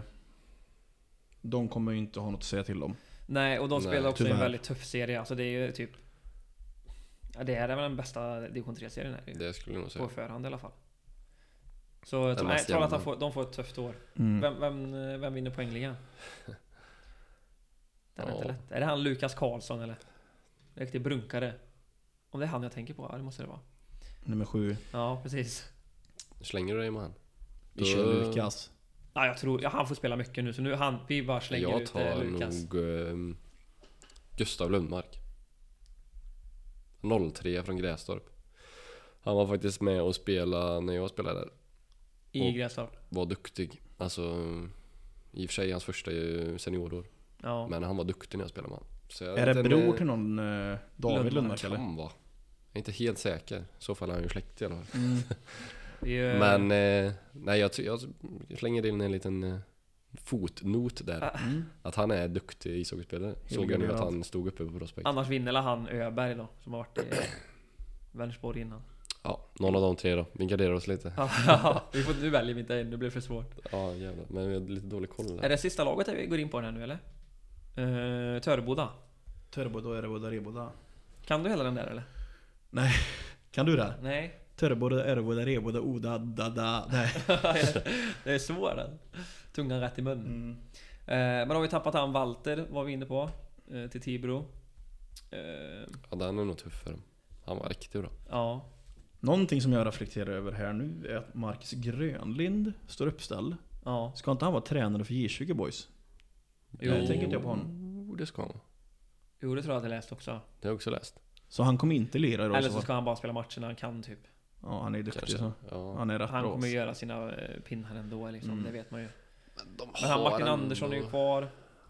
Speaker 2: de kommer ju inte ha något att säga till om.
Speaker 1: Nej, och de
Speaker 3: Nej,
Speaker 1: spelar också i en
Speaker 2: tyvärr.
Speaker 1: väldigt tuff serie. Alltså det är ju typ... Ja, det här är väl den bästa division 3-serien här. ju.
Speaker 3: Det skulle jag nog
Speaker 1: På
Speaker 3: säga.
Speaker 1: förhand i alla fall. Så jag tror, nej,
Speaker 3: mest
Speaker 1: jag tror att
Speaker 3: jämna.
Speaker 1: de får, de får ett tufft år.
Speaker 2: Mm.
Speaker 1: Vem, vem, eh, vem vinner poängligan? Den är
Speaker 3: Ja.
Speaker 1: inte lätt. Är det han Lukas Karlsson eller? Riktig brunkare. Om det är han jag tänker på, ja det måste det vara.
Speaker 2: Nummer sju,
Speaker 1: Ja, precis.
Speaker 3: Slänger du dig med han?
Speaker 2: vi kör
Speaker 3: Då-
Speaker 2: Lukas.
Speaker 1: Ja, jag tror, ja, han får spela mycket nu så nu han, vi bara slänger
Speaker 3: Jag
Speaker 1: ut eh,
Speaker 3: tar
Speaker 1: Lukas.
Speaker 3: nog ehm, Gustav Lundmark 03 från Grästorp Han var faktiskt med och spelade när jag spelade där
Speaker 1: I
Speaker 3: och-
Speaker 1: Grästorp.
Speaker 3: Var duktig Alltså I och för sig hans första eh, seniorår
Speaker 1: Ja.
Speaker 3: Men han var duktig när jag spelade med honom Så jag
Speaker 2: Är
Speaker 3: vet
Speaker 2: det
Speaker 3: inte,
Speaker 2: bror
Speaker 3: men-
Speaker 2: till någon eh,
Speaker 1: Lundmark.
Speaker 2: David Lundmark eller?
Speaker 3: Kan vara Jag är inte helt säker I så fall är han ju släkt i alla fall
Speaker 2: Mm.
Speaker 1: Vi, eh,
Speaker 3: Men eh, Nej jag, ty- jag slänger in en liten eh, Fotnot där
Speaker 1: Ah.
Speaker 2: Mm.
Speaker 3: Att han är duktig ishockeyspelare Såg jag nu att han stod uppe på Prospect
Speaker 1: Annars vinner väl han Öberg då, som har varit i Vänersborg innan.
Speaker 3: Ja, någon av de tre då. Vi garderar oss lite.
Speaker 1: vi får, nu väljer vi inte en, det blir för svårt.
Speaker 3: Ja, jävlar. Men vi har lite dålig koll
Speaker 1: Är
Speaker 3: där.
Speaker 1: det sista laget vi går in på här nu eller? Uh, Töreboda.
Speaker 2: Töreboda, Ereboda, Reboda.
Speaker 1: Kan du hela den där eller?
Speaker 2: Kan du det?
Speaker 1: Nej.
Speaker 2: Töreboda, Ereboda, Reboda, Oda, da, da. Nej.
Speaker 1: det är svårt. alltså. Tungan rätt i mun.
Speaker 2: Mm.
Speaker 1: Eh, men då har vi tappat han Walter, var vi inne på. eh, till Tibro. Eh,
Speaker 3: Ja, den är nog tuff för dem. Han var riktigt bra.
Speaker 1: Ja.
Speaker 2: Någonting som jag reflekterar över här nu är att Marcus Grönlind står uppställd.
Speaker 1: Ja.
Speaker 2: Ska inte han vara tränare för J20 boys?
Speaker 1: Jo,
Speaker 2: Jag tänker inte på honom.
Speaker 3: Jo, det ska han.
Speaker 1: jo, det tror jag att jag läst också.
Speaker 3: Det har jag också läst.
Speaker 2: Så han kommer inte lira idag?
Speaker 1: Eller
Speaker 2: så
Speaker 1: så
Speaker 2: va?
Speaker 1: ska han bara spela matcherna han kan typ.
Speaker 2: Ja, han är ju duktig.
Speaker 3: Kanske.
Speaker 2: Så.
Speaker 3: Ja.
Speaker 2: Han är rätt
Speaker 1: Han
Speaker 2: bra.
Speaker 1: kommer ju göra sina eh, pinnar ändå liksom,
Speaker 2: Mm.
Speaker 1: det vet man ju.
Speaker 3: Men, de
Speaker 1: Men han,
Speaker 3: har
Speaker 1: Martin
Speaker 3: ändå-
Speaker 1: Andersson är ju kvar.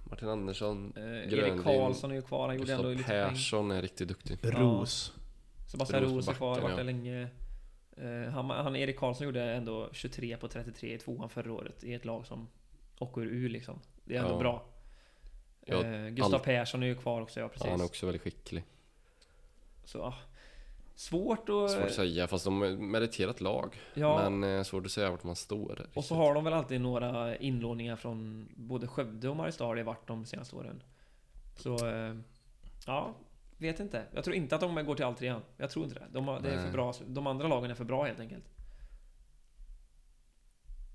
Speaker 3: Martin Andersson.
Speaker 1: Eh,
Speaker 3: Grönlin,
Speaker 1: Erik Karlsson är ju kvar. Han gjorde ändå
Speaker 3: Gustav
Speaker 1: lite poäng.
Speaker 3: Persson är riktigt duktig.
Speaker 2: Ros.
Speaker 1: Sebastian
Speaker 3: Roos på
Speaker 1: Roos är kvar.
Speaker 3: backen,
Speaker 1: Vart
Speaker 3: ja.
Speaker 1: där länge. Eh, han, han, Erik Karlsson gjorde ändå 23 på 33 i tvåan förra året i ett lag som åker ur U liksom. Det är ändå
Speaker 3: Ja.
Speaker 1: bra.
Speaker 3: Ja,
Speaker 1: Eh, Gustav
Speaker 3: all-
Speaker 1: Persson är ju kvar också, ja precis.
Speaker 3: Ja, han är också väldigt skicklig.
Speaker 1: Så, ah, svårt att...
Speaker 3: Svårt att säga, fast de är meriterat lag.
Speaker 1: eh, ja,
Speaker 3: Men eh, svårt att säga vart man står. riktigt.
Speaker 1: och så har de väl alltid några inlåningar från både Skövde och Mariestad har det varit de senaste åren. Så... Eh, ja, vet inte. Jag tror inte att de går till Alltrean. Jag tror inte det. De, har, det är för
Speaker 3: Nej.
Speaker 1: bra. de andra lagen är för bra helt enkelt.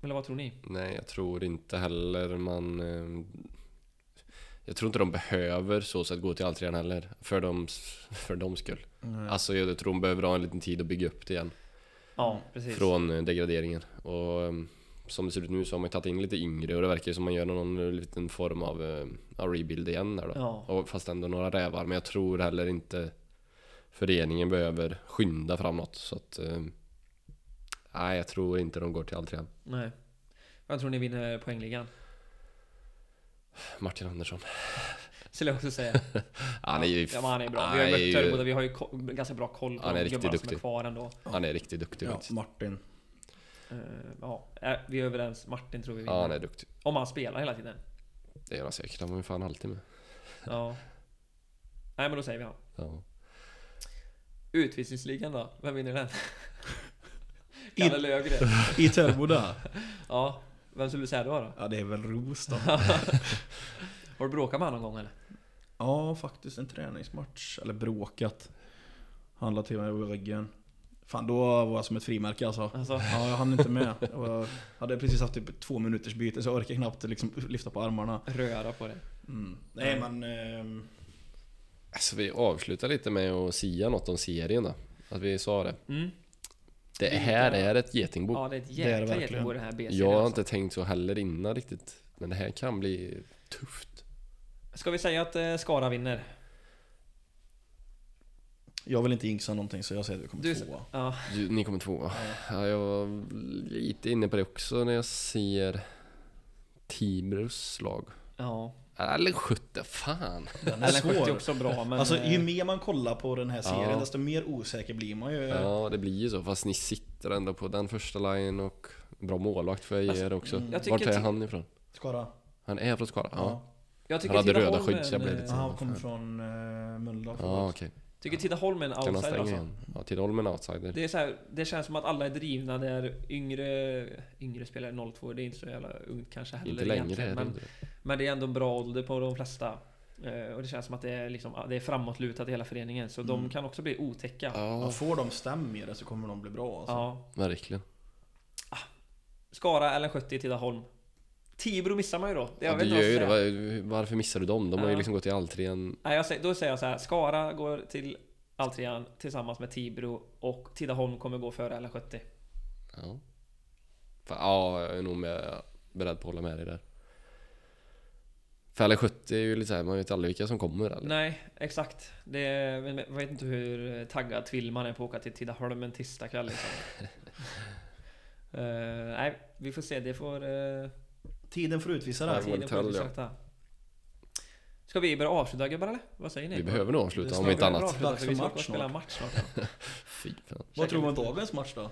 Speaker 1: Eller vad tror ni?
Speaker 3: Nej, jag tror inte heller man... eh, Jag tror inte de behöver så sätt gå till Alltrean heller. För dems, för dems skull.
Speaker 2: Nej.
Speaker 3: Alltså jag tror de behöver ha en liten tid att bygga upp det igen.
Speaker 1: Ja, precis.
Speaker 3: Från eh, degraderingen. Och eh, som det ser ut nu så har man ju tagit in lite yngre och det verkar ju som man gör någon eh, liten form av, eh, av rebuild igen där då.
Speaker 1: Ja.
Speaker 3: Och fast ändå några rävar. Men jag tror heller inte föreningen behöver skynda framåt. Så att... eh, Nej, jag tror inte de går till Alltrean.
Speaker 1: Nej. Vem tror ni vinner poängligan?
Speaker 3: Martin Andersson.
Speaker 1: Skulle jag också säga.
Speaker 3: Han är ju...
Speaker 1: ja, men han är bra.
Speaker 3: han
Speaker 1: vi har
Speaker 3: är
Speaker 1: ju
Speaker 3: ju-
Speaker 1: mött Töreboda, vi har ju ko- ganska bra koll på
Speaker 3: Han är
Speaker 1: de
Speaker 3: riktigt
Speaker 1: gubbarna som är
Speaker 3: duktig.
Speaker 1: kvar ändå.
Speaker 3: Han är riktigt duktig
Speaker 2: Ja,
Speaker 3: faktiskt.
Speaker 2: Martin.
Speaker 1: Eh, ja, Eh, vi är överens. Martin tror vi vinner.
Speaker 3: Ja, han är duktig.
Speaker 1: Om han spelar hela tiden.
Speaker 3: Det gör han säkert. Han var ju fan alltid med.
Speaker 1: Ja. Nej, men då säger vi han.
Speaker 3: Ja.
Speaker 1: Utvisningsligan då? Vem vinner den? Kalle
Speaker 2: In-
Speaker 1: Löfgren.
Speaker 2: I Töreboda?
Speaker 1: Ja. Vem skulle du säga då? då?
Speaker 2: Ja, det är väl Ros då.
Speaker 1: Har du bråkat med honom någon gång eller?
Speaker 2: Ja, faktiskt en träningsmatch. Eller bråkat. Han la till mig över ryggen. Fan, då var jag som ett frimärke alltså.
Speaker 1: Alltså,
Speaker 2: Ja, jag hann inte med. Och Jag hade precis haft typ två minuters byte så jag orkade knappt liksom lyfta på armarna.
Speaker 1: röra på det.
Speaker 2: Mm. Nej men... ehm,
Speaker 3: Alltså vi avslutar lite med att sia något om serien då. Att vi sa det.
Speaker 1: Mm.
Speaker 3: Det här är ett getingbo.
Speaker 1: Ja, det är ett
Speaker 2: Det är det
Speaker 1: jäkla
Speaker 2: verkligen.
Speaker 1: getingbo det här alltså. BC.
Speaker 3: Jag har inte tänkt så heller innan riktigt. Men det här kan bli tufft.
Speaker 1: Ska vi säga att eh, Skara vinner?
Speaker 2: jag vill inte jinxa någonting så jag säger att vi kommer
Speaker 1: Du-
Speaker 2: tvåa.
Speaker 1: Ja.
Speaker 3: Du, ni kommer tvåa. Ja, jag var lite inne på det också när jag ser Tibros lag.
Speaker 1: Ja.
Speaker 3: Eller sjutton, fan.
Speaker 2: Den är
Speaker 1: Eller 70 är
Speaker 2: svår.
Speaker 1: också bra men...
Speaker 2: Alltså
Speaker 1: eh,
Speaker 2: ju mer man kollar på den här serien
Speaker 3: Ja.
Speaker 2: desto mer osäker blir man ju.
Speaker 3: Ja, det blir ju så. Fast ni sitter ändå på den första linjen och bra målvakt får jag ge er också.
Speaker 1: Alltså, mm. jag tycker
Speaker 3: Vart är
Speaker 1: till-
Speaker 3: han ifrån?
Speaker 2: Skara.
Speaker 3: Han är från Skara? Ja.
Speaker 1: jag tycker
Speaker 3: Han hade
Speaker 1: Tidaholm
Speaker 3: röda
Speaker 1: är
Speaker 3: skydd så jag
Speaker 1: en,
Speaker 3: blev
Speaker 1: eh,
Speaker 3: lite-
Speaker 2: Ja, han kommer från uh, Mölndal.
Speaker 3: Ja,
Speaker 2: förlåt.
Speaker 3: Ah, okej.
Speaker 1: Tycker Tidaholm är en
Speaker 3: Kan han
Speaker 1: outsider
Speaker 3: stänga
Speaker 1: alltså.
Speaker 3: igen? Ja, Tidaholm är en outsider.
Speaker 1: Det, är så här, det känns som att alla är drivna där yngre, yngre spelare 02, det är inte så jävla ungt kanske heller
Speaker 3: Inte längre
Speaker 1: egentligen,
Speaker 3: är det
Speaker 1: men,
Speaker 3: inte.
Speaker 1: men det är ändå en bra ålder på de flesta. Eh, Och det känns som att det är, liksom, det är framåtlutat i hela föreningen, så de
Speaker 2: Mm.
Speaker 1: kan också bli otäcka. Ja.
Speaker 2: Ja,
Speaker 3: Ja,
Speaker 2: får de stäm i det så kommer de bli bra alltså.
Speaker 3: verkligen.
Speaker 1: Skara eller 70 i Tidaholm. Tibro missar man ju då. Det, jag
Speaker 3: Ja,
Speaker 1: vet
Speaker 3: du
Speaker 1: inte vad
Speaker 3: gör ju
Speaker 1: jag
Speaker 3: det.
Speaker 1: ska säga.
Speaker 3: Var- Varför missar du dem? De har ju
Speaker 1: Ja.
Speaker 3: liksom gått i alltrean.
Speaker 1: Nej, jag säger, då säger jag så här. Skara går till Alltrean tillsammans med Tibro och Tidaholm kommer gå före alla 70.
Speaker 3: Ja. Fan, ja, jag är nog med, beredd på att hålla med dig där. Fäller 70 är ju lite såhär, man vet aldrig vilka som kommer eller?
Speaker 1: Nej, exakt. Det är, men jag vet inte hur taggad Tvillman är på att åka till Tidaholm en tisdag kväll liksom. Eh, nej, vi får se. Det får... Uh,
Speaker 2: Tiden får utvisa det.
Speaker 3: Ja,
Speaker 2: här.
Speaker 3: det går
Speaker 1: tiden
Speaker 3: inte heller,
Speaker 1: får
Speaker 3: ja.
Speaker 1: sakta. Ska vi börja avsluta gubbar eller? Vad säger ni?
Speaker 3: Vi behöver nog
Speaker 2: Det
Speaker 3: avsluta
Speaker 2: är
Speaker 3: om inte
Speaker 1: Vi börjar
Speaker 3: annat.
Speaker 1: avsluta,
Speaker 2: Dags
Speaker 1: för
Speaker 2: för
Speaker 1: vi ska
Speaker 2: match
Speaker 1: gå och spela
Speaker 2: snart.
Speaker 1: match snart. ja.
Speaker 3: Fy fan.
Speaker 2: Vad tror du om dagens match då?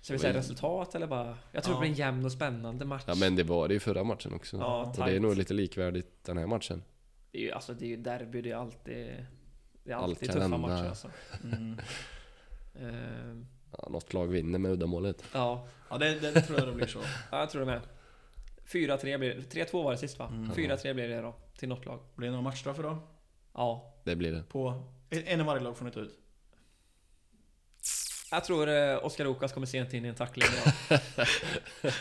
Speaker 1: Ska vi säga resultat eller bara? Jag tror det blir en jämn och spännande match.
Speaker 3: Ja men det var det ju förra matchen också.
Speaker 1: Ja,
Speaker 3: så det är
Speaker 1: tajt.
Speaker 3: nog lite likvärdigt den här matchen.
Speaker 1: Det är ju, alltså, det är ju derby, det är alltid... Det är
Speaker 3: Allt
Speaker 1: alltid
Speaker 3: kan
Speaker 1: tuffa
Speaker 3: hända.
Speaker 1: matcher alltså.
Speaker 2: Mm.
Speaker 1: Eh,
Speaker 3: Ja, något lag vinner med uddamålet.
Speaker 1: ja.
Speaker 2: Ja det, det tror jag det blir så.
Speaker 1: Ja, jag tror det med. 4-3 blir det. 3-2 var det sist va?
Speaker 2: Mm.
Speaker 1: 4-3 blir det då. Till något lag.
Speaker 2: Blir det några matchstraff idag?
Speaker 1: Ja.
Speaker 3: Det blir det.
Speaker 2: På en i varje lag får ni ta ut.
Speaker 1: Jag tror eh, Oskar Okas kommer sent in i en tackling.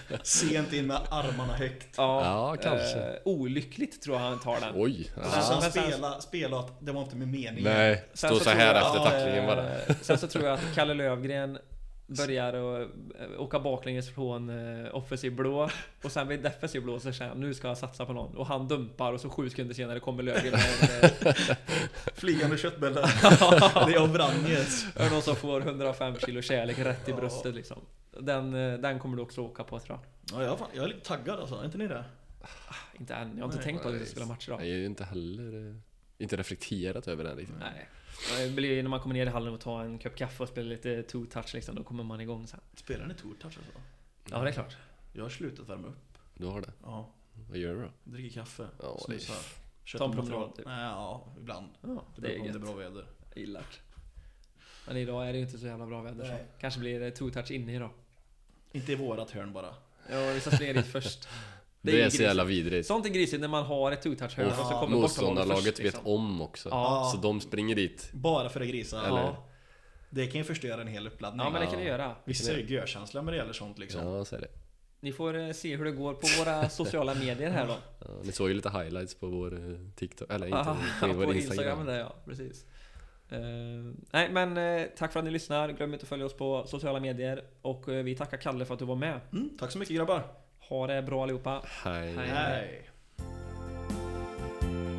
Speaker 1: Ja,
Speaker 2: Sent in med armarna högt.
Speaker 3: Ja, kanske.
Speaker 1: eh, olyckligt tror jag han tar den.
Speaker 3: Oj.
Speaker 2: Och så
Speaker 3: Ja.
Speaker 1: Ja,
Speaker 2: sen
Speaker 1: men eh, sen-
Speaker 2: Alltså, spela, spela att det var inte med meningen.
Speaker 3: Nej,
Speaker 1: Sen
Speaker 3: stå så
Speaker 1: tror
Speaker 3: här
Speaker 1: jag-
Speaker 3: efter
Speaker 1: ja,
Speaker 3: tacklingen bara.
Speaker 1: eh, Sen så tror jag att Kalle Lövgren börjar att eh, åka baklänges från eh, offensiv blå och sen vid defensiv blå så känner jag nu ska jag satsa på någon och han dumpar och så sju sekunder senare kommer Lövgren med en, eh,
Speaker 2: Flygande köttbullar. det är av Vranjes.
Speaker 1: Är det någon som får 105 kilo kärlek rätt i
Speaker 2: Ja.
Speaker 1: bröstet liksom. Den, eh, den kommer du också åka på tror jag.
Speaker 2: Ja, jag, är fan, jag är lite taggad alltså, är inte ni det?
Speaker 1: Inte än. Jag har inte
Speaker 2: Nej.
Speaker 1: tänkt på att vi ska spela match
Speaker 3: Jag
Speaker 1: idag.
Speaker 3: är ju inte heller... eh, Inte reflekterat över den riktigt.
Speaker 1: Nej. Det blir ju när man kommer ner i hallen och tar en kopp kaffe och spelar lite two-touch liksom. Då kommer man igång sen.
Speaker 2: Spelar ni Tourtouch alltså?
Speaker 1: Ja, det är klart.
Speaker 2: Jag har slutat värma upp.
Speaker 3: Du har det.
Speaker 2: Ja,
Speaker 3: Vad gör du då?
Speaker 2: dricker kaffe,
Speaker 3: Ja, det är-
Speaker 2: snusar. Kött
Speaker 1: Ta en
Speaker 2: och
Speaker 1: promenad,
Speaker 2: material.
Speaker 1: typ.
Speaker 2: Nej, ja, ibland.
Speaker 1: Ja,
Speaker 2: Det
Speaker 1: det
Speaker 2: beror
Speaker 1: är
Speaker 2: på om det
Speaker 1: gött.
Speaker 2: är bra väder.
Speaker 1: Gillat. Men idag är det ju inte så jävla bra väder
Speaker 2: Nej.
Speaker 1: så. Kanske blir det two-touch inne idag.
Speaker 2: Inte i vårat hörn bara.
Speaker 1: Ja, vi ska spela dit först.
Speaker 3: Det,
Speaker 1: ju
Speaker 3: är så
Speaker 1: grisigt.
Speaker 3: jävla vidrigt.
Speaker 1: Sånt är grisigt när man har ett two-touch hörn
Speaker 3: Och
Speaker 1: och så kommer bortamålet
Speaker 3: Motståndarlaget
Speaker 1: först.
Speaker 3: vet
Speaker 1: Liksom.
Speaker 3: om också.
Speaker 1: Ja.
Speaker 3: Så de springer dit.
Speaker 2: Bara för att grisa.
Speaker 3: Eller?
Speaker 1: Ja.
Speaker 2: Det kan ju förstöra en hel uppladdning.
Speaker 1: ja, men det kan det göra.
Speaker 2: Vissa är ju görkänsliga med det gäller sånt liksom.
Speaker 3: Ja, så är det.
Speaker 1: Ni får eh, se hur det går på våra sociala medier här då.
Speaker 3: Ja, ni såg ju lite highlights på vår eh, TikTok. Eller inte,
Speaker 1: Aha,
Speaker 3: på
Speaker 1: på
Speaker 3: vår
Speaker 1: Instagram.
Speaker 3: Instagram.
Speaker 1: där ja, precis. Eh, nej men eh, tack för att ni lyssnar. Glöm inte att följa oss på sociala medier. Och eh, vi tackar Kalle för att du var med.
Speaker 2: Mm, tack så mycket grabbar.
Speaker 1: Ha det bra allihopa.
Speaker 3: Hej.
Speaker 1: Hej.
Speaker 2: Hej.